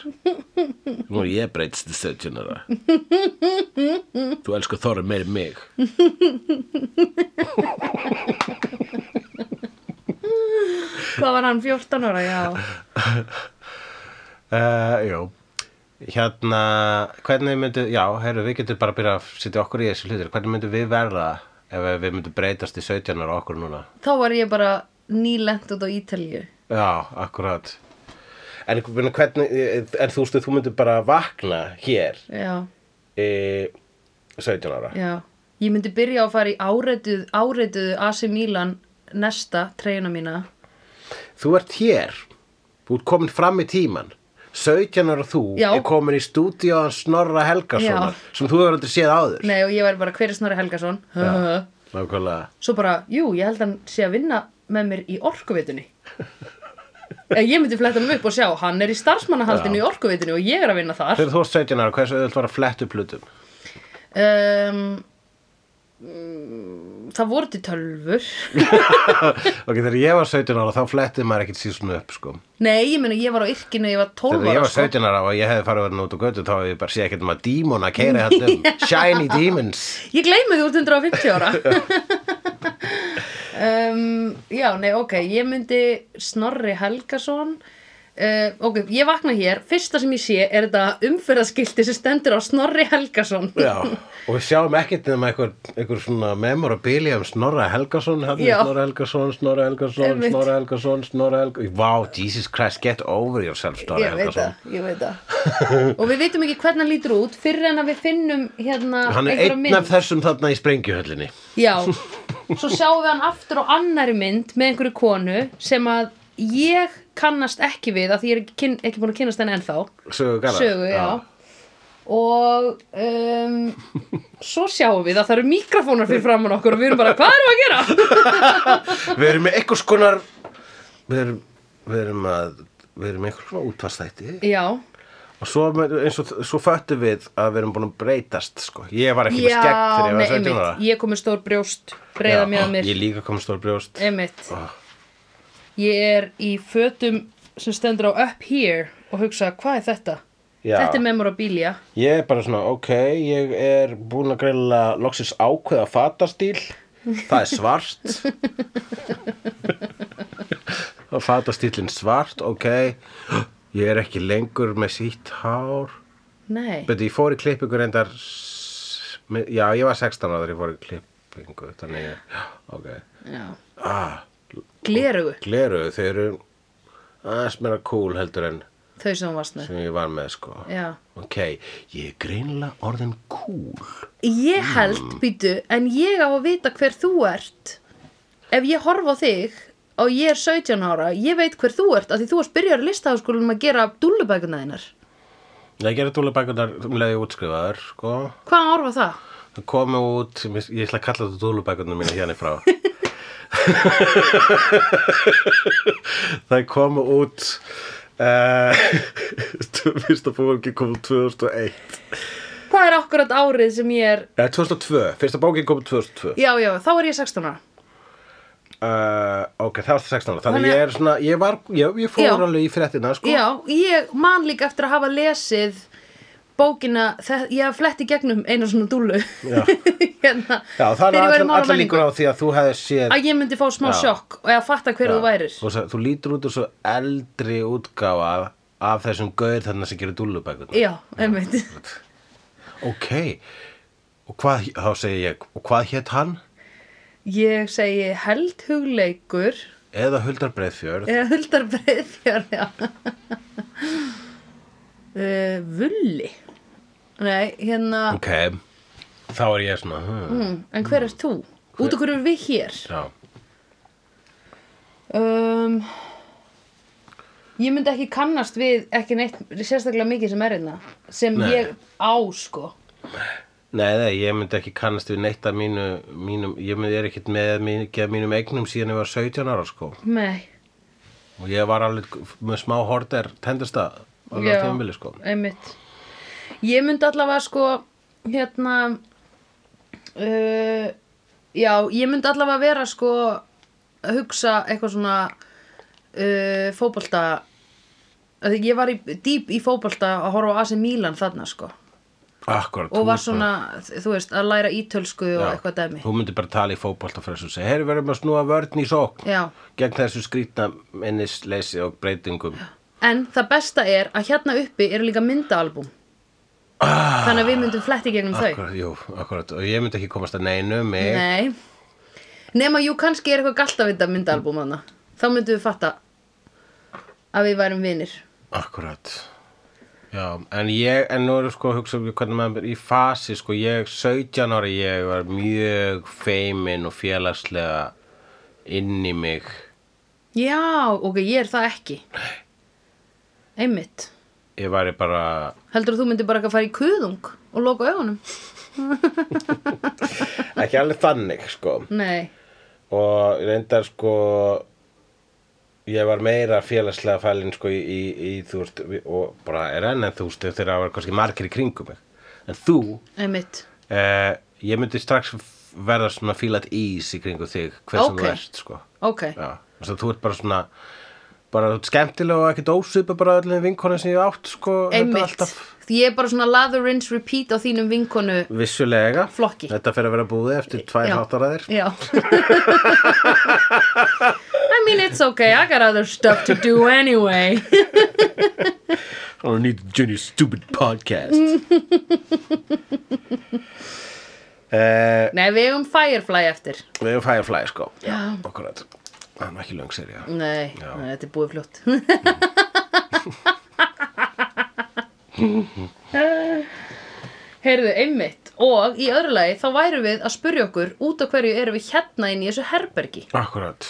A: Nú er ég breytist í 17 ára Þú elskar þorri meir en mig
B: Hvað var hann 14 ára, já
A: Uh, jú, hérna, hvernig myndu, já, heyrðu, við getum bara að byrja að setja okkur í þessu hlutir. Hvernig myndu við verða ef við myndum breytast í 17 ára okkur núna?
B: Þá var ég bara nýlent út á Ítalíu
A: Já, akkurat. En hvernig, hvernig- en þú veist, þú myndu bara vakna hér
B: Já,
A: í 17 ára.
B: já Ég myndi byrja á að fara í áreituð, áreituð AC Milan nesta treyna mína
A: Þú ert hér, þú ert komin fram í tíman. 17 ára þú
B: Já.
A: er komin í stúdíóan Snorra Helgasonar
B: Já.
A: sem þú hefur aldrei séð áður.
B: Nei, og ég væri bara hver er Snorri Helgason
A: Já. Nákvæmlega.
B: Svo bara, jú, ég held hann sé að vinna með mér í orkuvitunni Eh, Ég myndi fletta hann upp og sjá Hann er í starfsmannahaldinu í orkuvitunni og ég er að vinna þar
A: Þegar þú ert 17 ára, hversu auðvitað var að fletta upp hlutum?
B: um, mm, Það voru til tölfur
A: ok, þegar ég var 17 ára þá flettið maður ekkert síðan upp sko.
B: Nei, ég meina, ég var á yrkinu, ég var sko- 12
A: Þegar ég
B: ára
A: var 17 ára og ég hefði farið að vera út á götu þá hefði ég bara séð ekkert um að dímon að keira hérna um Shiny Demons
B: Ég gleymi þú ert 150 ára um, Já, nei, ok Ég myndi Snorri Helgason uh, Ok, ég vakna hér Fyrsta sem ég sé er þetta umferðaskilti sem stendur á Snorri Helgason
A: Já, og við sjáum ekkert nema einhver, einhver svona memorabilia um Snorra Helgason hérna,
B: Já.
A: Snorra Helgason, Snorra Helgason,
B: Einmitt.
A: Snorra Helgason, Snorra Helgason Vá, Jesus Christ, get over yourself, Snorra
B: Ég veit
A: Helgason
B: það, ég veit það Og við veitum ekki hvernig hann lítur út fyrir en að við finnum hérna
A: Hann er
B: einhverja
A: einn
B: mynd
A: af þessum þarna í sprengjuhöllinni
B: Já, svo sjáum við hann aftur á annari mynd með einhverju konu sem að ég kannast ekki við að því ég er ekki, kyn, ekki búin að kynnast henni ennþá
A: Sögu gala
B: sögu, já og um, svo sjáum við að það eru mikrofónar fyrir framann okkur og við erum bara, hvað erum við að gera?
A: Við erum með einhvers konar Við erum, við erum að Við erum með einhvers konar útvarstætti
B: já,
A: Og svo, eins og svo föttum við að við erum búin að breytast, sko. Ég var ekki með
B: já,
A: skegg
B: nei,
A: þegar ég var 17 ára.
B: einmitt ég kom með stór brjóst, breyða mér að mér
A: Ég líka kom stór brjóst.
B: einmitt
A: Oh.
B: ég er í fötum sem stendur á up here og hugsa, hvað er þetta?
A: Já.
B: þetta er memorabilia
A: Ég er bara svona, ok, ég er búin að greila loksins ákveða fatastíl. Það er svart. Og fatastílinn svart, ok. Ég er ekki lengur með sítt hár.
B: nei,
A: Beti, ég fór í klippingu reyndar s- með- Já, ég var 16 ára þegar ég fór í klippingu Þannig, ég- já, ok
B: já
A: ah,
B: glerugu,
A: Gleru, þau eru aðeins meira cool heldur en
B: þau sem hún varst með
A: sem ég var með, sko
B: já
A: Ok, ég er greinilega orðin cool
B: Ég held, býtu, en ég á að vita hver þú ert Ef ég horfa á þig og ég er 17 ára, ég veit hver þú ert af því þú varst byrjar í listaháskólanum að gera dúllubækuna þínar.
A: Ég gerði dúlubækunar um leiði útskrifaðar, sko
B: Hvaðan ár var það?
A: Það komi út, ég ég ætla að kalla þetta dúlubækunar mína hérna frá Það komi út Uh, fyrsta fólki kom út 2001
B: Það er akkurat árið sem ég er
A: Eh, 2002, fyrsta bókin kom 2002
B: Já, já, þá er ég 16 ára
A: uh, Ok, það var það 16 ára Þannig
B: Þannig
A: ég er svona, ég var, ég, ég fór
B: Já.
A: alveg í fréttina sko.
B: Já, ég man líka eftir að hafa lesið bókina, það, ég haf flett í gegnum einu svona dúllu
A: Já.
B: hérna,
A: Já, það
B: þegar ég var í
A: er allar,
B: Mála
A: allar
B: menningu.
A: líkur á því að þú hefði séð
B: að ég myndi fá smá
A: Já.
B: sjokk og ég að fatta hver þú værir
A: Þú, sagði- þú lítur út úr svo eldri útgáfa af þessum gaur þarna sem gerir dúllubækurnar.
B: Já, einmitt.
A: Ok, og hvað, þá segi ég, og hvað hétt hann?
B: Ég segi held hugleikur
A: Eða Huldar Breiðfjörð?
B: eða huldar breiðfjörð, já. uh, vulli. Nei, hérna,
A: Ok, þá er ég svona, hmm,
B: mm, en hver er þú? Út og hverju er við hér?
A: já.
B: Um, ég myndi ekki kannast við ekki neitt sérstaklega mikið sem er hérna sem
A: Nei.
B: ég á sko
A: Nei, nei, ég myndi ekki kannast við neitt af mínu, mínum, ég myndi er ekkert með mikið af mínum eignum síðan ég var 17 ára sko
B: Nei,
A: og ég var alveg með smá horter tendasta á
B: Já.
A: tímabili sko
B: einmitt Ég myndi allavega sko hérna uh, Já, ég myndi allavega vera sko að hugsa eitthvað svona uh, fótbolta af því ég var í, dýp í fótbolta að horfa á AC Milan þarna sko
A: Akkurat,
B: og var svona, þú veist, að læra ítölsku og eitthvað dæmi
A: Þú myndi bara tala í fótbolta fyrir þessu og segja, heyri verðum að snúa vörn í sókn
B: Já,
A: gegn þessu skrýtna minnisleysi og breytingum
B: En það besta er að hérna uppi eru líka myndaalbum
A: ah,
B: Þannig að við myndum fletti gegnum Um þau
A: Akkurat, jú, akkurat, og ég myndi ekki komast að neinu mig
B: Nei Nema jú, kannski er eitthvað galt að vita myndaalbum hana Þá myndum við fatta að við værum vinir
A: Akkurat Já, en ég, en nú erum sko að hugsa um hvernig maður er í fasi, sko, ég 17 ára ég var mjög feimin og félagslega inn í mig
B: Já, ok, ég er það ekki Einmitt
A: ég var í bara
B: Heldur þú myndir bara ekki að fara í kuðung og loka augunum?
A: ekki alveg þannig, sko
B: Nei,
A: og reyndar sko ég var meira félagslega fælinn sko í, í, í þú veist og bara er enn en þú veist þegar það var kannski margir í kringum mig en þú,
B: einmitt
A: eh, ég myndi strax verða svona fílat ís í kringum þig hver sem
B: Ókei.
A: þú ert, sko
B: Ok,
A: Já, þess að þú ert bara svona bara þú ert skemmtilega og ekkert ósvipa bara öllum vinkonum sem ég hef átt sko þetta
B: einmitt Því ég er bara svona lather, rinse, repeat á þínum vinkonu
A: vissulega
B: Flokki.
A: þetta fyrir að vera búið eftir tvær
B: Já.
A: háttaræðir
B: Já I mean it's okay I got other stuff to do anyway
A: I don't need to join your stupid podcast Eh,
B: Nei við eigum Firefly eftir
A: við erum Firefly sko
B: Já.
A: akkurat það er nú ekki löng serið
B: Nei,
A: Já.
B: nei þetta er búið fljótt Heyrðu, einmitt og í öðru lagi þá værum við að spurja okkur út af hverju erum við hérna inn í þessu herbergi
A: akkurat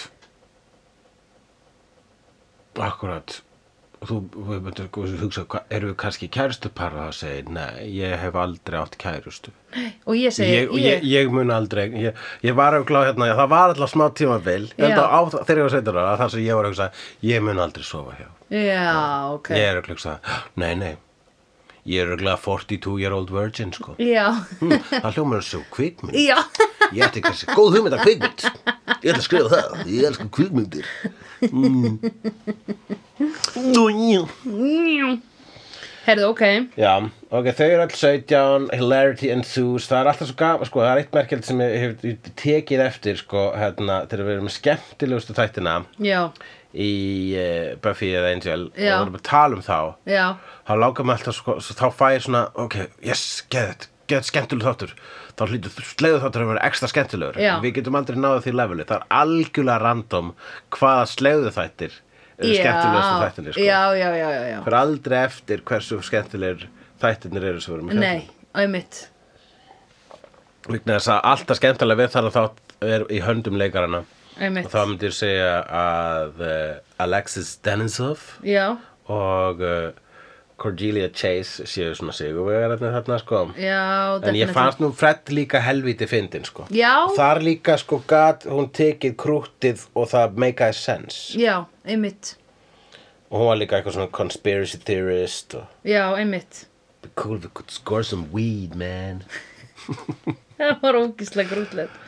A: akkurat og þú, þú myndir þú hugsa hva- erum við kannski kærustupar og það segir nei, ég hef aldrei átt kærustu
B: og ég segi
A: ég, ég, ég mun aldrei ég, ég var auðvitað hérna, það var alltaf smá tímabil ég held
B: Já.
A: að á, þegar ég var sveitur ára þar sem ég var að hugsa, ég mun aldrei sofa hjá
B: Já, ok
A: ég er auðvitað að hugsa, nei, nei ég er auðvitað 42 year old virgin sko.
B: Já,
A: hm, það hljómar þessu kvikmynd
B: já
A: ég ætti kannski góð hugmynd að kvikmynd ég ætla að skrifa það, ég elska kvikmyndir Hm. mm. Nú, jú.
B: Heyrðu, ok
A: Já, ok, þau eru alls 17, hilarity enthused, það er alltaf svo gaman, sko, það er eitt merkjöld sem ég hef ég tekið eftir, sko, hérna, þegar við erum með skemmtilegustu þættina
B: Já,
A: í uh, Buffy eða Angel og við
B: Já.
A: erum að tala um þá,
B: já,
A: þá langar mig alltaf, sko, svo, þá fæ ég svona, ok, yes, get it, get skemmtilegur þáttur, þá hlýtur slegðu þáttur að vera ekstra skemmtilegur,
B: Já.
A: við getum aldrei náðu því leveli, það er algjörlega random hvaða slegðu þættir eru skemmtilegustu
B: já,
A: þættinni, sko
B: já, já, já, já, já.
A: fer aldrei eftir hversu skemmtilegir þættirnir eru sem við erum að
B: Nei, einmitt
A: fjalla. Vegna þess að alltaf skemmtilega við þarna þátt er í höndum leikarana og
B: Einmitt
A: þá myndir ég segja að eh, Alexis Denisov
B: Já,
A: og eh, Cordelia Chase séu svona sigurvegararnir þarna sko
B: já,
A: en ég
B: definitely.
A: fannst nú Fred líka helvíti fyndin sko
B: Já.
A: þar líka sko gat hún tekið krúttið og það make a sense
B: Já, einmitt
A: og hún var líka eitthvað svona conspiracy theorist og
B: Já, einmitt
A: be cool if we could score some weed man
B: Það var ógislega grútlegt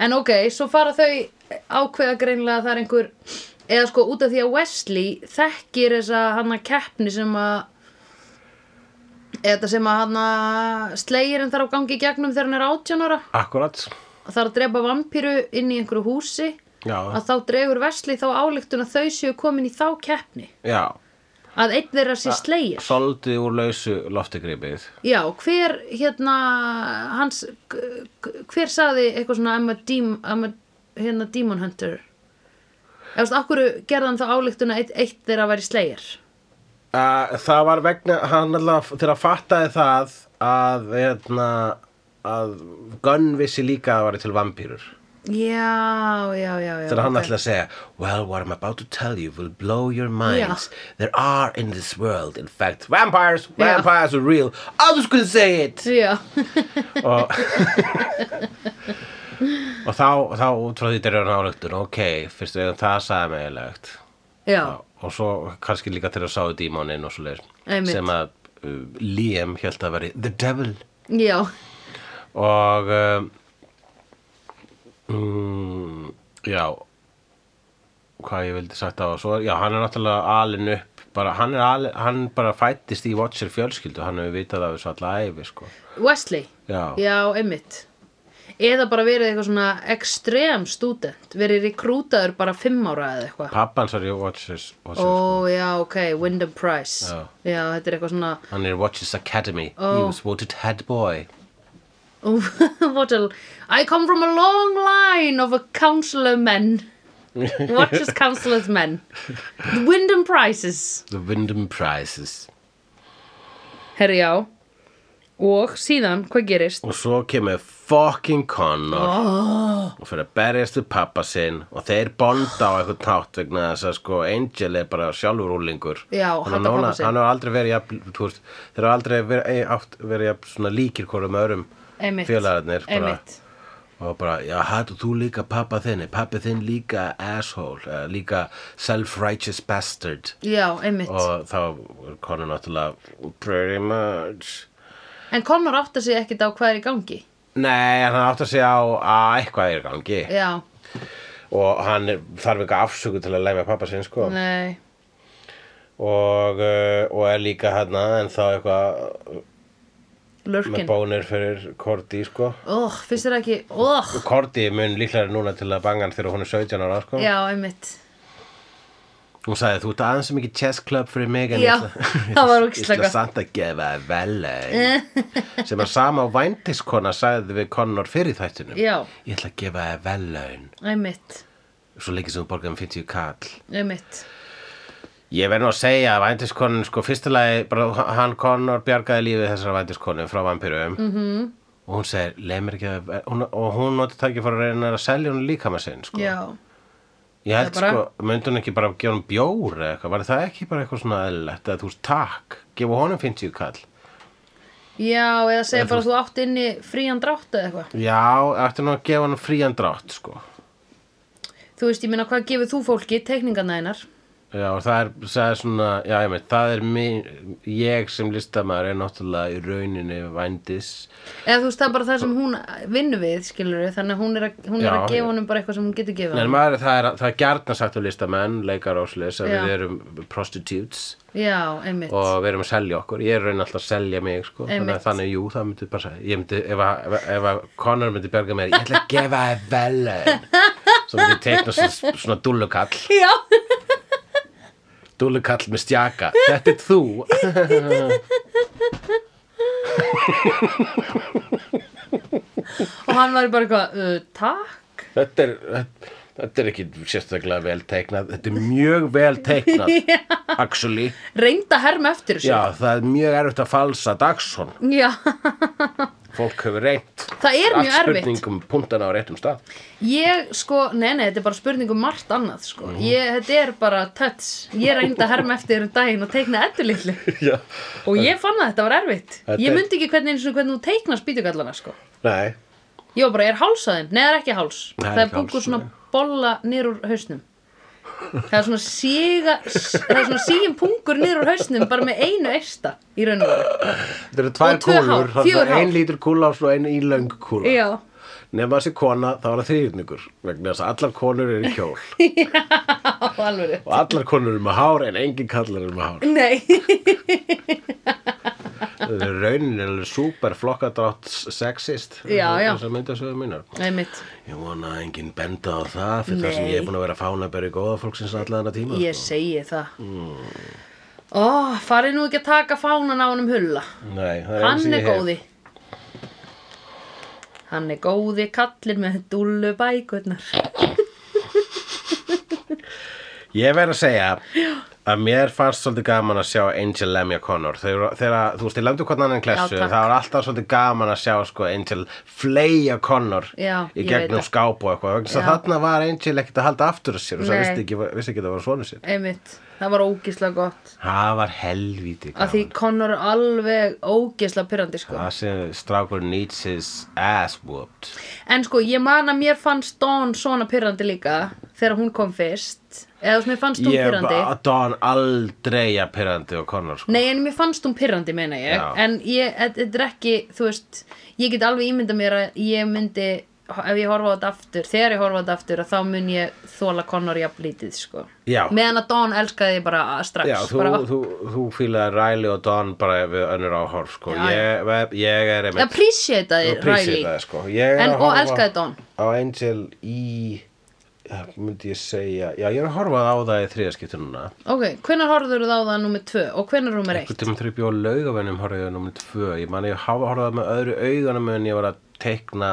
B: En ok, svo fara þau ákveða greinlega að það er einhver eða sko út af því að Wesley þekkir þessa hana keppni sem að eða sem að hana slegir en þarf að gangi í gegnum þegar hann er 18 ára
A: akkurat
B: og þarf að drepa vampíru inn í einhverju húsi
A: Já,
B: að þá dregur Wesley þá ályktun að þau séu komin í þá keppni
A: já,
B: að einn þeirra sé slegir
A: Soldið úr lausu loftigripið
B: já, hver hérna hans, k- k- hver saði eitthvað svona I'm a, dem, I'm a hérna, demon hunter eða veist, akkur gerðan þá álíktuna eitt, eitt þeirra væri slegir
A: Uh, það var vegna, hann alltaf, þegar hann fattaði það að, hérna, að Gunn vissi líka að það var til vampýrur.
B: já, já, já, já
A: Þegar hann
B: ok.
A: ætlaði að segja, well, what I'm about to tell you will blow your minds. There are in this world, in fact, vampires,
B: Já.
A: vampires are real. Others could say it.
B: já,
A: og, og þá, þá út frá því þetta er hann álöktun, ok, fyrst veginn það sagði mig eiginlegt.
B: já,
A: og svo kannski líka þegar sáu dímonin og svo
B: Einmitt.
A: sem að uh, Liam held að veri the devil
B: já
A: og um, mm, já hvað ég vildi sagt á svo, já, hann er náttúrulega alin upp bara, hann, er alin, hann bara fættist í Watcher fjölskyldu, hann hefur vitað af þessu alla æfi sko.
B: Wesley
A: Já.
B: Já, einmitt Eða bara verið eitthvað svona ekstrem student Verið rekrútaður bara fimm ára eða eitthvað
A: pappans er í Watchers, Watchers
B: Ó, já, ok, Wyndham Price
A: Já.
B: þetta er eitthvað svona
A: hann er í Watchers Academy
B: Ó.
A: he was voted head boy
B: Ó, What a I come from a long line of a council of men What is council of men The Wyndham Prices
A: the Wyndham Prizes
B: Herri, já Og síðan, hvað gerist?
A: Og svo kemur fucking Connor og fyrir að berjast við pappa sinn og þeir bonda á eitthvað tátt vegna þess að sko Angel er bara sjálfur úlingur.
B: Já,
A: Hann
B: hatar
A: er núna-
B: pabba sinn.
A: Hann hefur aldrei verið jafn, þú veist, þeir hafa aldrei verið, átt, verið jafn svona líkir hvorum öðrum
B: Einmitt.
A: félagarnir. bara.
B: Einmitt.
A: Og bara, já, hættu þú líka pappa þinni, pappi þinn líka asshole, eh, líka self-righteous bastard.
B: Já, einmitt
A: Og þá er Connor náttúrulega pretty much...
B: En Connor átti sig ekkit á hvað er í gangi
A: Nei, en hann átt að segja á að eitthvað er í gangi.
B: Já,
A: og hann er- þarf eitthvað afsöku til að læma pappa sinn sko
B: nei
A: og, uh, og er líka hérna en þá eitthvað með
B: Lurkin
A: bónir fyrir Korti sko
B: Oh, finnst þér ekki, oh,
A: Korti mun líklega núna til að banga hann þegar hún er 17 ára sko
B: já, einmitt
A: hún sagði þú ert aðeins sem ekki chess club fyrir mig en
B: Já,
A: ég ætla-
B: það var
A: ég
B: ógeðslega
A: ætla
B: gott.
A: samt að gefa þér vel laun." sem að sama væntiskona sagði við Connor fyrir þættunum
B: Já.
A: ég ætla að gefa þér vel laun
B: Einmitt,
A: svo leikið sem hún borgaði um 50 kall
B: einmitt
A: Ég verð nú að segja að vændiskonin, sko, fyrstulega, bara hann Connor bjargaði lífið þessara vændiskonin frá vampirum -hmm.
B: Mhm.
A: og hún segir, leið mér ekki að, hún, og hún noti tæki fyrir að reyna að selja hún líka með sinn, sko.
B: Já,
A: Ég
B: það
A: held,
B: bara-
A: sko, myndi hún ekki bara gefa hún bjór eða eitthvað, var það ekki bara eitthvað svona eðlilegt, að þú veist, takk, gefa honum 50 kall.
B: já, eða segja bara að þú átt inni frían drátt eða eitthvað
A: Já, eftir nú að gefa hann frían drátt, sko.
B: Þú veist, ég meina, hvað gefur þú fólki, teikningarna einar
A: Já, og það er, það er svona, já, ég veit, það er mér, ég sem listamæður er náttúrulega í rauninni vændis.
B: Eða þú veist, það er bara það sem hún vinnur við, skilur við Þannig að hún er að, hún er
A: Já,
B: að
A: ég-
B: gefa honum bara eitthvað sem hún getur gefa
A: Nei,
B: honum
A: maður, það, er, það er gjarnan sagt á listamenn, leikar og slis að
B: Já.
A: við erum prostitutes
B: Já, einmitt
A: og við erum að selja okkur ég er raun alltaf að selja mig sko. þannig,
B: Einmitt.
A: að- þannig að jú, það myndi bara ég myndi, ef, að- ef, að- ef að Connor myndi berga mér ég ætla að gefa þér vel svo myndi ég teikna svona, svona dúllukall
B: Já,
A: dúllukall með stjaka, þetta er þú
B: og hann var bara eitthvað, uh, takk
A: þetta er, þetta- þetta er ekki sérstaklega vel teiknað þetta er mjög vel teiknað actually,
B: Reynda herm eftir þessu
A: já, það er mjög erfitt að falsa Dagson
B: já.
A: fólk hefur reynt
B: Það er mjög
A: Allt
B: erfitt.
A: spurningum puntana á réttum stað
B: Ég sko, nei nei, þetta er bara spurning um margt annað sko.
A: Mhm.
B: ég, Þetta er bara touch Ég reyndi að herma eftir um daginn og teikna eddu litlu
A: Já.
B: Og ég fann að þetta var erfitt
A: Þetta
B: Ég
A: er-
B: myndi ekki hvernig, einu sinni hvernig þú teiknar spýtugallana sko.
A: Nei,
B: Ég var bara, er háls að þeim? Nei, það er ekki háls
A: Nei,
B: Það er
A: ekki háls,
B: búkur svona
A: nei.
B: bolla niður úr hausnum Það er svona síga Það er svona sígin pungur niður úr hausnum Bara með einu eista í raun og veru
A: þetta eru tvær
B: Og tvö hár,
A: kúlur þannig
B: fjögur
A: að ein
B: hár.
A: lítur kúla og svo ein ílöng kúla
B: Já,
A: Nefna þessi kona, þá er það þriðningur vegna þess að allar konur eru í kjól
B: á alveg rétt.
A: og allar konur eru með hár en engin kallar eru með hár
B: Nei,
A: Það er raunin er super flokkadrátt sexist
B: Já, já.
A: þess að mynda sögum mínar
B: nei mitt
A: Ég vona að enginn benda á það fyrir það sem
B: Nei.
A: sko. ég er búin að vera fána að berja góða fólksins allan að tíma
B: Ég
A: sko.
B: segi það mm. Ó, farið nú ekki að taka fánan á honum hulla.
A: Nei, það er eins
B: Hann
A: og
B: er
A: ég hef.
B: góði. Hann er góði kallinn með dúllu bækurnar.
A: Ég verð að segja að mér fannst svolítið gaman að sjá Angel lemja Connor þegar, þegar þú veist, ég lemdu hvernig annan klessu
B: Já, takk.
A: það var alltaf svolítið gaman að sjá sko, Angel fleja Connor
B: Já,
A: í
B: ég veit
A: gegnum
B: það.
A: skáp og eitthvað vegna þess að
B: Já.
A: þarna var Angel ekkert að halda aftur af sér og það
B: Nei.
A: vissi ekki, vissi ekki að það var svona sér
B: Einmitt, það var ógislega gott.
A: Það var helvíti
B: Af því
A: gaman
B: Connor er alveg ógislega pyrrandi sko.
A: Það sem strákur needs his ass whooped
B: En sko, ég man að mér fannst Dawn svona pyrrandi líka þegar hún kom fyrst. Eða þú veist, mér fannst hún
A: Ég
B: pyrrandi.
A: var Don aldrei að pyrrandi og Connor sko.
B: Nei, en mér fannst hún pyrrandi, meina ég.
A: Já.
B: En ég, þet- þetta er ekki, þú veist, ég get alveg ímyndað mér að ég myndi, ef ég horfa á þetta aftur, þegar ég horfa á þetta aftur, að þá mun ég þóla Connor jafn lítið, sko.
A: Já.
B: Meðan að Dawn elskaði ég bara að- strax.
A: Já, þú,
B: bara,
A: þú, þú fílaði Riley og Don bara við önnur áhorf sko.
B: Já, já.
A: ég, ég er einmitt
B: Appreciateaði
A: Þú
B: Riley.
A: prísið það sko Ég er
B: En-
A: að
B: og
A: horfa
B: elskaði Dawn.
A: Á Angel í eh, myndi ég segja Já, ég er að horfa á það í þriðaskiptu núna
B: Ok, hvenær horfður þú á það nummer 2 og hvenær nummer 1?
A: Einhvern tímann þegar ég bjóð laugavennum horfði ég á nummer tvö Ég man ég hafa horfði á það með öðru augunum en ég var að teikna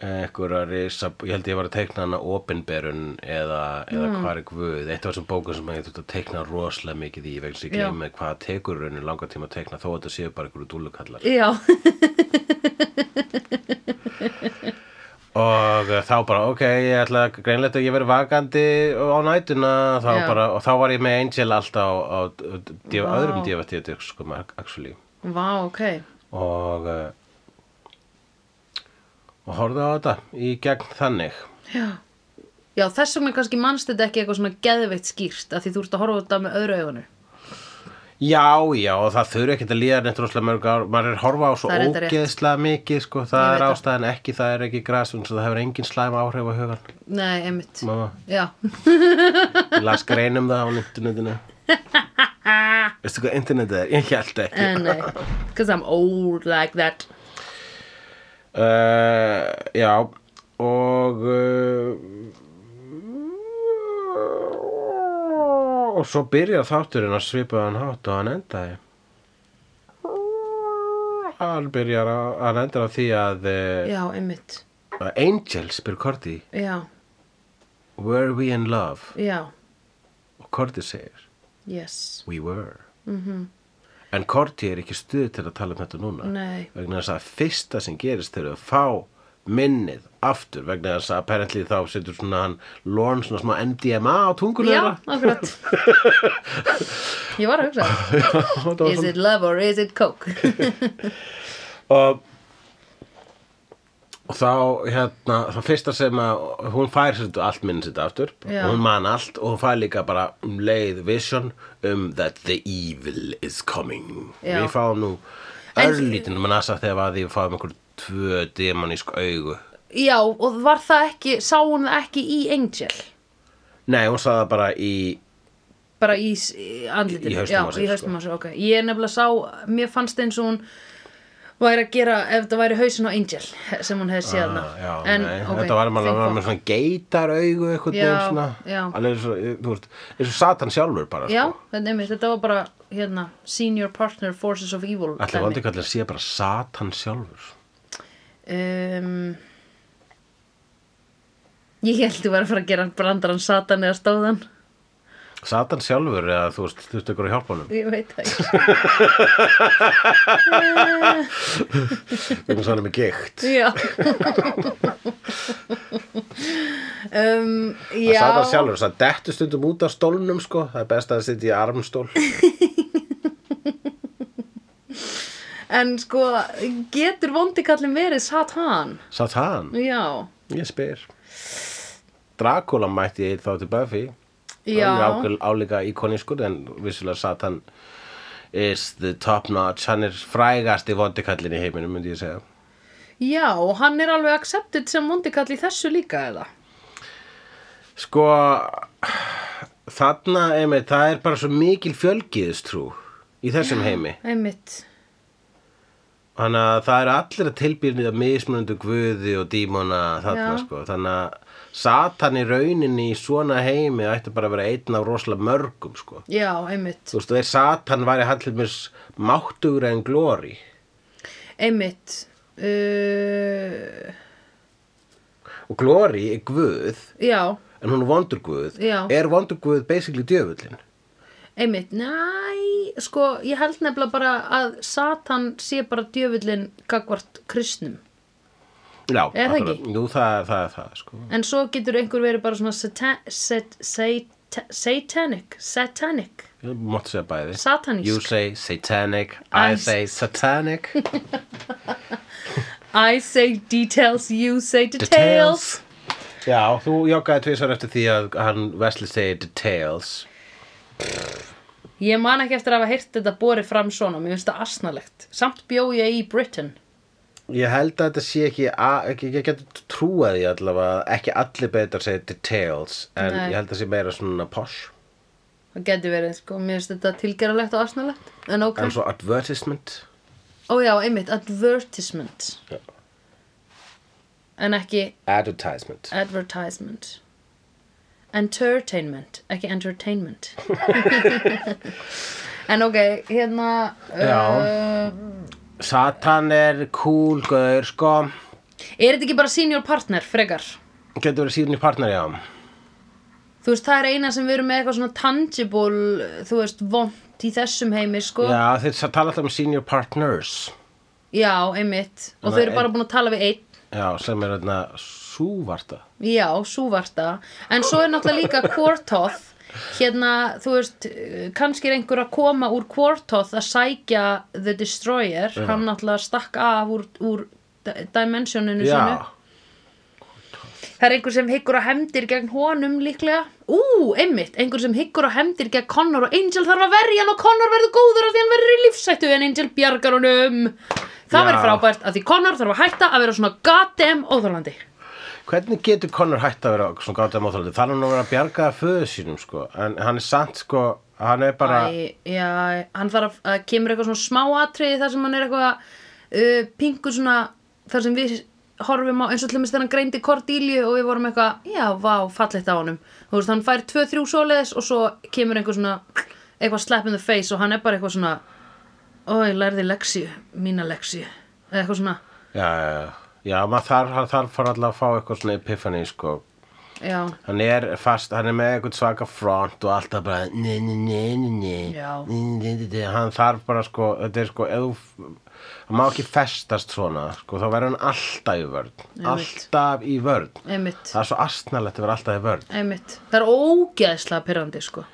A: eh, einhverja risa ég held ég var að teikna hana opinberun eða,
B: Mm.
A: eða hvað er guð eitt af þessum bókum sem ég þurfti að teikna rosalega mikið í vegna sem ég
B: Já.
A: gleymi hvað tekur rauninu langar tíma að teikna þó að þetta séu bara einhverju dúllukallar
B: Já,
A: og uh, þá bara, ok, ég ætla að- greinlegt að ég verið vakandi á nætuna þá
B: Já.
A: bara, og þá var ég með Angel alltaf á, á, á djöf,
B: Vá.
A: öðrum djöfatíðatíð sko, actually
B: vá, ok.
A: og uh, og horfði á þetta í gegn þannig
B: Já. Já, þess vegna kannski mannst þetta ekki eitthvað svona geðveitt skýrt að því þú ert að horfa á þetta með öðru augunum.
A: Já, já, og það þurfi ekkert að líða neitt rosalega mörg ár, maður er að horfa á svo
B: Það er reyndar rétt.
A: ógeðslega mikið, sko, það
B: Ég
A: er
B: veit það.
A: ástæðan ekki, það er ekki græsun, svo það hefur engin slæm áhrif á hugan,
B: Nei, einmitt.
A: mamma.
B: Já,
A: Ég las grein um það á internetinu Veistu hvað internetið er? Ég held ekki
B: en nei. Because I'm old like that.
A: uh, Já og uh, og svo byrjar þátturinn að svipa hann hátt og hann endaði hann byrjar að hann endar á því að uh,
B: Já, einmitt.
A: Angel spyr Korti
B: Já,
A: Were we in love?
B: já,
A: og Korti segir
B: yes.
A: We were -hmm. En Korti er ekki stuð til að tala um þetta núna
B: Mhm. Nei.
A: vegna þess að fyrsta sem gerist þegar þau fá minnið aftur vegna þess að apparently þá setur svona hann lorn svona smá MDMA á tungunum
B: Já, akkurat. Ég var að hugsa.
A: þeirra.
B: Is it love or is it coke?
A: og, og þá hérna, þá fyrsta sem að hún fær sér þetta allt minnið sitt aftur
B: Já.
A: og hún man allt og hún fær líka bara um leið vision um that the evil is coming
B: Já.
A: við fáum nú
B: En-
A: örlítinn mann að þegar að því fáum einhver tvö demonísk augu
B: Já, og var það ekki, sá hún það ekki í Angel?
A: Nei, hún sagði það bara í
B: Bara í, s- í andlitinu?
A: Í- í hausnum á sér, sko.
B: Já, í haustum á sér, ok. Ég nefnilega sá, mér fannst eins og hún væri að gera, ef það væri hausinn á Angel sem hún hefði séð hana.
A: Ah, já,
B: En,
A: nei,
B: ok,
A: þetta var
B: fínt
A: maður að vera
B: fólk.
A: með svona geitar augu eitthvað
B: Já,
A: neginn svona
B: já.
A: hann er svo, þú veist, er svo satan sjálfur bara
B: Já,
A: sko.
B: þetta, einmitt, þetta var bara, hérna, Senior Partner Forces of Evil.
A: Ætli vondi kallar sé bara satan sjálfur
B: Um, ég held þú var að fara að gera brandar hann satan eða stóðan.
A: Satan sjálfur eða þú veist, þú veist ykkur að hjálpa honum
B: Ég veit það ekki.
A: Þú veist hann er með geikt
B: já. um, já.
A: Satan sjálfur, það dettu stundum út af stólnum sko, það er best að það sitja í armstól
B: En sko, getur vondikallin verið satan?
A: Satan,
B: Já.
A: ég spyr Dracula mætti ég þá til Buffy
B: Já.
A: Hann er ákveð- álíka íkonískur en vissulega Satan is the top notch hann er frægasti vondikallin í heiminum myndi ég segja
B: Já, og hann er alveg accepted sem vondikall í þessu líka eða?
A: Sko, þarna, einmitt, það er bara svo mikil fjölgiðistrú í þessum heimi.
B: Einmitt.
A: Þannig að það eru allir að tilbyrnið að mismunandi guði og dímona þarna
B: Já.
A: sko. Þannig að Satan í rauninni í svona heimi ætti bara að vera einn af rosalega mörgum sko.
B: já, einmitt
A: Þú veist, þeir Satan væri hann til mér máttugur en glóri.
B: einmitt uh,
A: Og glóri er guð,
B: já,
A: en hún er vondur guð.
B: Já.
A: Er vondur guð basically djöfullin?
B: einmitt næ, sko, ég held nefnilega bara að Satan sé bara djöfullin gagvart kristnum
A: Já,
B: Er það
A: akkurat.
B: ekki?
A: Jú, það, það er það sko.
B: en svo getur einhver verið bara svona satan, sat, sat, satanic satanic
A: Ég mátti segja bæði.
B: Satanísk.
A: You say satanic, I
B: I
A: say satanic.
B: I say details, you say details
A: Já, þú joggaði tvisar eftir því að hann Wesley segir details.
B: Ég man ekki eftir að hafa heyrt þetta borið fram svona, mér finnst það asnalegt. Samt bjó ég í Britain.
A: Ég held að þetta sé ekki, a- ekki ég getur trúað því allavega að ekki allir betur segir details en
B: Nei.
A: ég held að sé meira svona posh
B: Það geti verið, sko, mér finnst þetta tilgerðalegt og asnalegt. En ok.
A: en svo advertisement
B: Ó já, einmitt, advertisement.
A: Já.
B: En ekki
A: advertisement
B: advertisement. Entertainment, ekki entertainment. en ok, hérna...
A: Já.
B: Uh,
A: Ehm. Satan er cool gaur sko
B: er þetta ekki bara senior partner, frekar?
A: getur verið síðan í partner já
B: Þú veist, það er eina sem við erum með eitthvað svona tangible, þú veist, vont í þessum heimi, sko.
A: Já, þeir sa- tala alltaf um senior partners
B: Já, einmitt. Og þau
A: Þannig að
B: eru bara
A: ein-
B: búin að tala við einn.
A: já, sem er þarna súvarta
B: Já, svo var það. En svo er náttúrulega líka Quartoth. Hérna, þú veist, eh, kannski er einhver að koma úr Quartoth að sækja The Destroyer. Hann náttúrulega stakk af úr, úr d- dimensioninu sínu.
A: Já,
B: Það er einhver sem hyggur á hefndir gegn honum líklega. Ú, einmitt, einhver sem hyggur á hefndir gegn Connor og Angel þarf að verja hann og Connor verður góður af því hann verður í lífsættu en Angel bjargar honum. Það
A: Já.
B: verður frábært af því Connor þarf að hætta að vera svona goddamn óþálandi.
A: hvernig getur Connor hætt að vera svona gáta móþáldi? Það er hann að vera að bjarga föðu sínum sko, en hann er samt sko, hann er bara
B: Æ, já, hann þarf að, að kemur eitthvað svona smáatriði þar sem hann er eitthvað uh, pingu svona þar sem við horfum á eins og til dæmis þegar hann greindi Cordelia og við vorum eitthvað, já, vá, fallegt á honum þú veist, hann fær 2-3 svoleiðis og svo kemur einhver svona eitthvað slap in the face og hann er bara eitthvað svona ó, ég lærði leksíu, mína leksíu eða eitthvað svona,
A: Já, já, já. já, maður þarf, hann þarf fara alltaf að fá eitthvað svona epiphany, sko.
B: já
A: Hann er fast, hann er með eitthvað svaka front og alltaf bara, ne, ne, ne, ne, ne,
B: Já.
A: ne, ne, ne, ne, hann þarf bara, sko, þetta er, sko, eða, hann má ekki festast svona, sko, þá verður hann alltaf í vörn,
B: Einmitt.
A: alltaf í vörn.
B: einmitt,
A: Það er svo astnalegt að vera alltaf í vörn.
B: einmitt það er ógeðslega pyrrandi, sko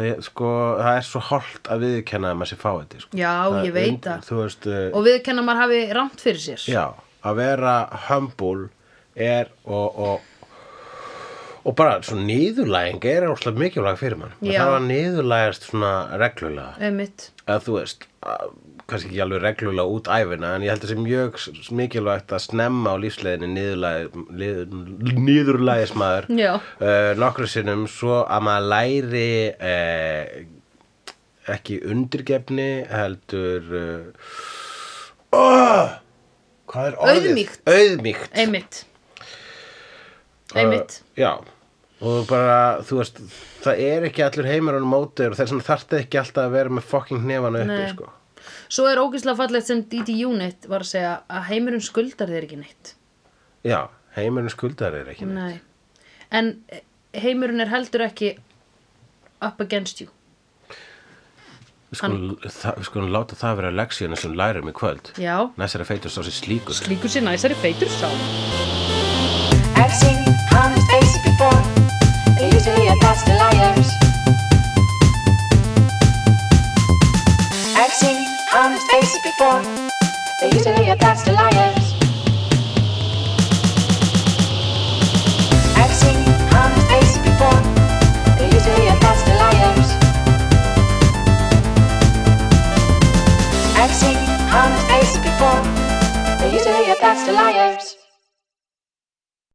A: Það er, sko, það er svo holt að viðkenna að maður sé fáið, sko.
B: já,
A: Það er
B: ég veit
A: und-
B: það
A: Þú veist, uh,
B: og við kennum að hafi rámt fyrir sér
A: Já, að vera humble er og, og, og bara svona nýðurlæging er óslega mikilvæg fyrir mann. Það
B: Já.
A: þarf að nýðurlægast svona reglulega.
B: einmitt
A: Eða þú veist, að, kannski ekki alveg reglulega út æfina, en ég held að það sé mjög s- mikilvægt að snemma á lífsleginni nýðurlægis maður
B: Já.
A: uh, nokkru sinnum svo að maður læri uh, ekki undirgefni heldur... Uh, oh! Hvað er orðið?
B: Auðmýkt.
A: Auðmýkt.
B: Einmitt Einmitt
A: Uh, já, og bara, þú veist, það er ekki allur heimur hann mótur og þess vegna þarfti ekki alltaf að vera með fucking nefana uppi,
B: Nei.
A: sko.
B: Svo er ógeðslega fallegt sem DD Unit var að segja að heimurinn skuldar þér ekki neitt
A: Já, heimurinn skuldar er ekki neitt.
B: Nei En heimurinn er heldur ekki up against you
A: Við skulum, það- við skulum láta það vera leksíuna sem lærum í kvöld.
B: Já,
A: Næst er að feitur sá sér slíkur.
B: slíkur sér næsari feitur sá
C: I've seen honest faces before. They're usually a pass to liars. I've seen honest faces before. They're usually a pass to liars. I've seen honest faces before. They're usually a pass to liars. I've seen honest faces before. They're usually a pass to liars.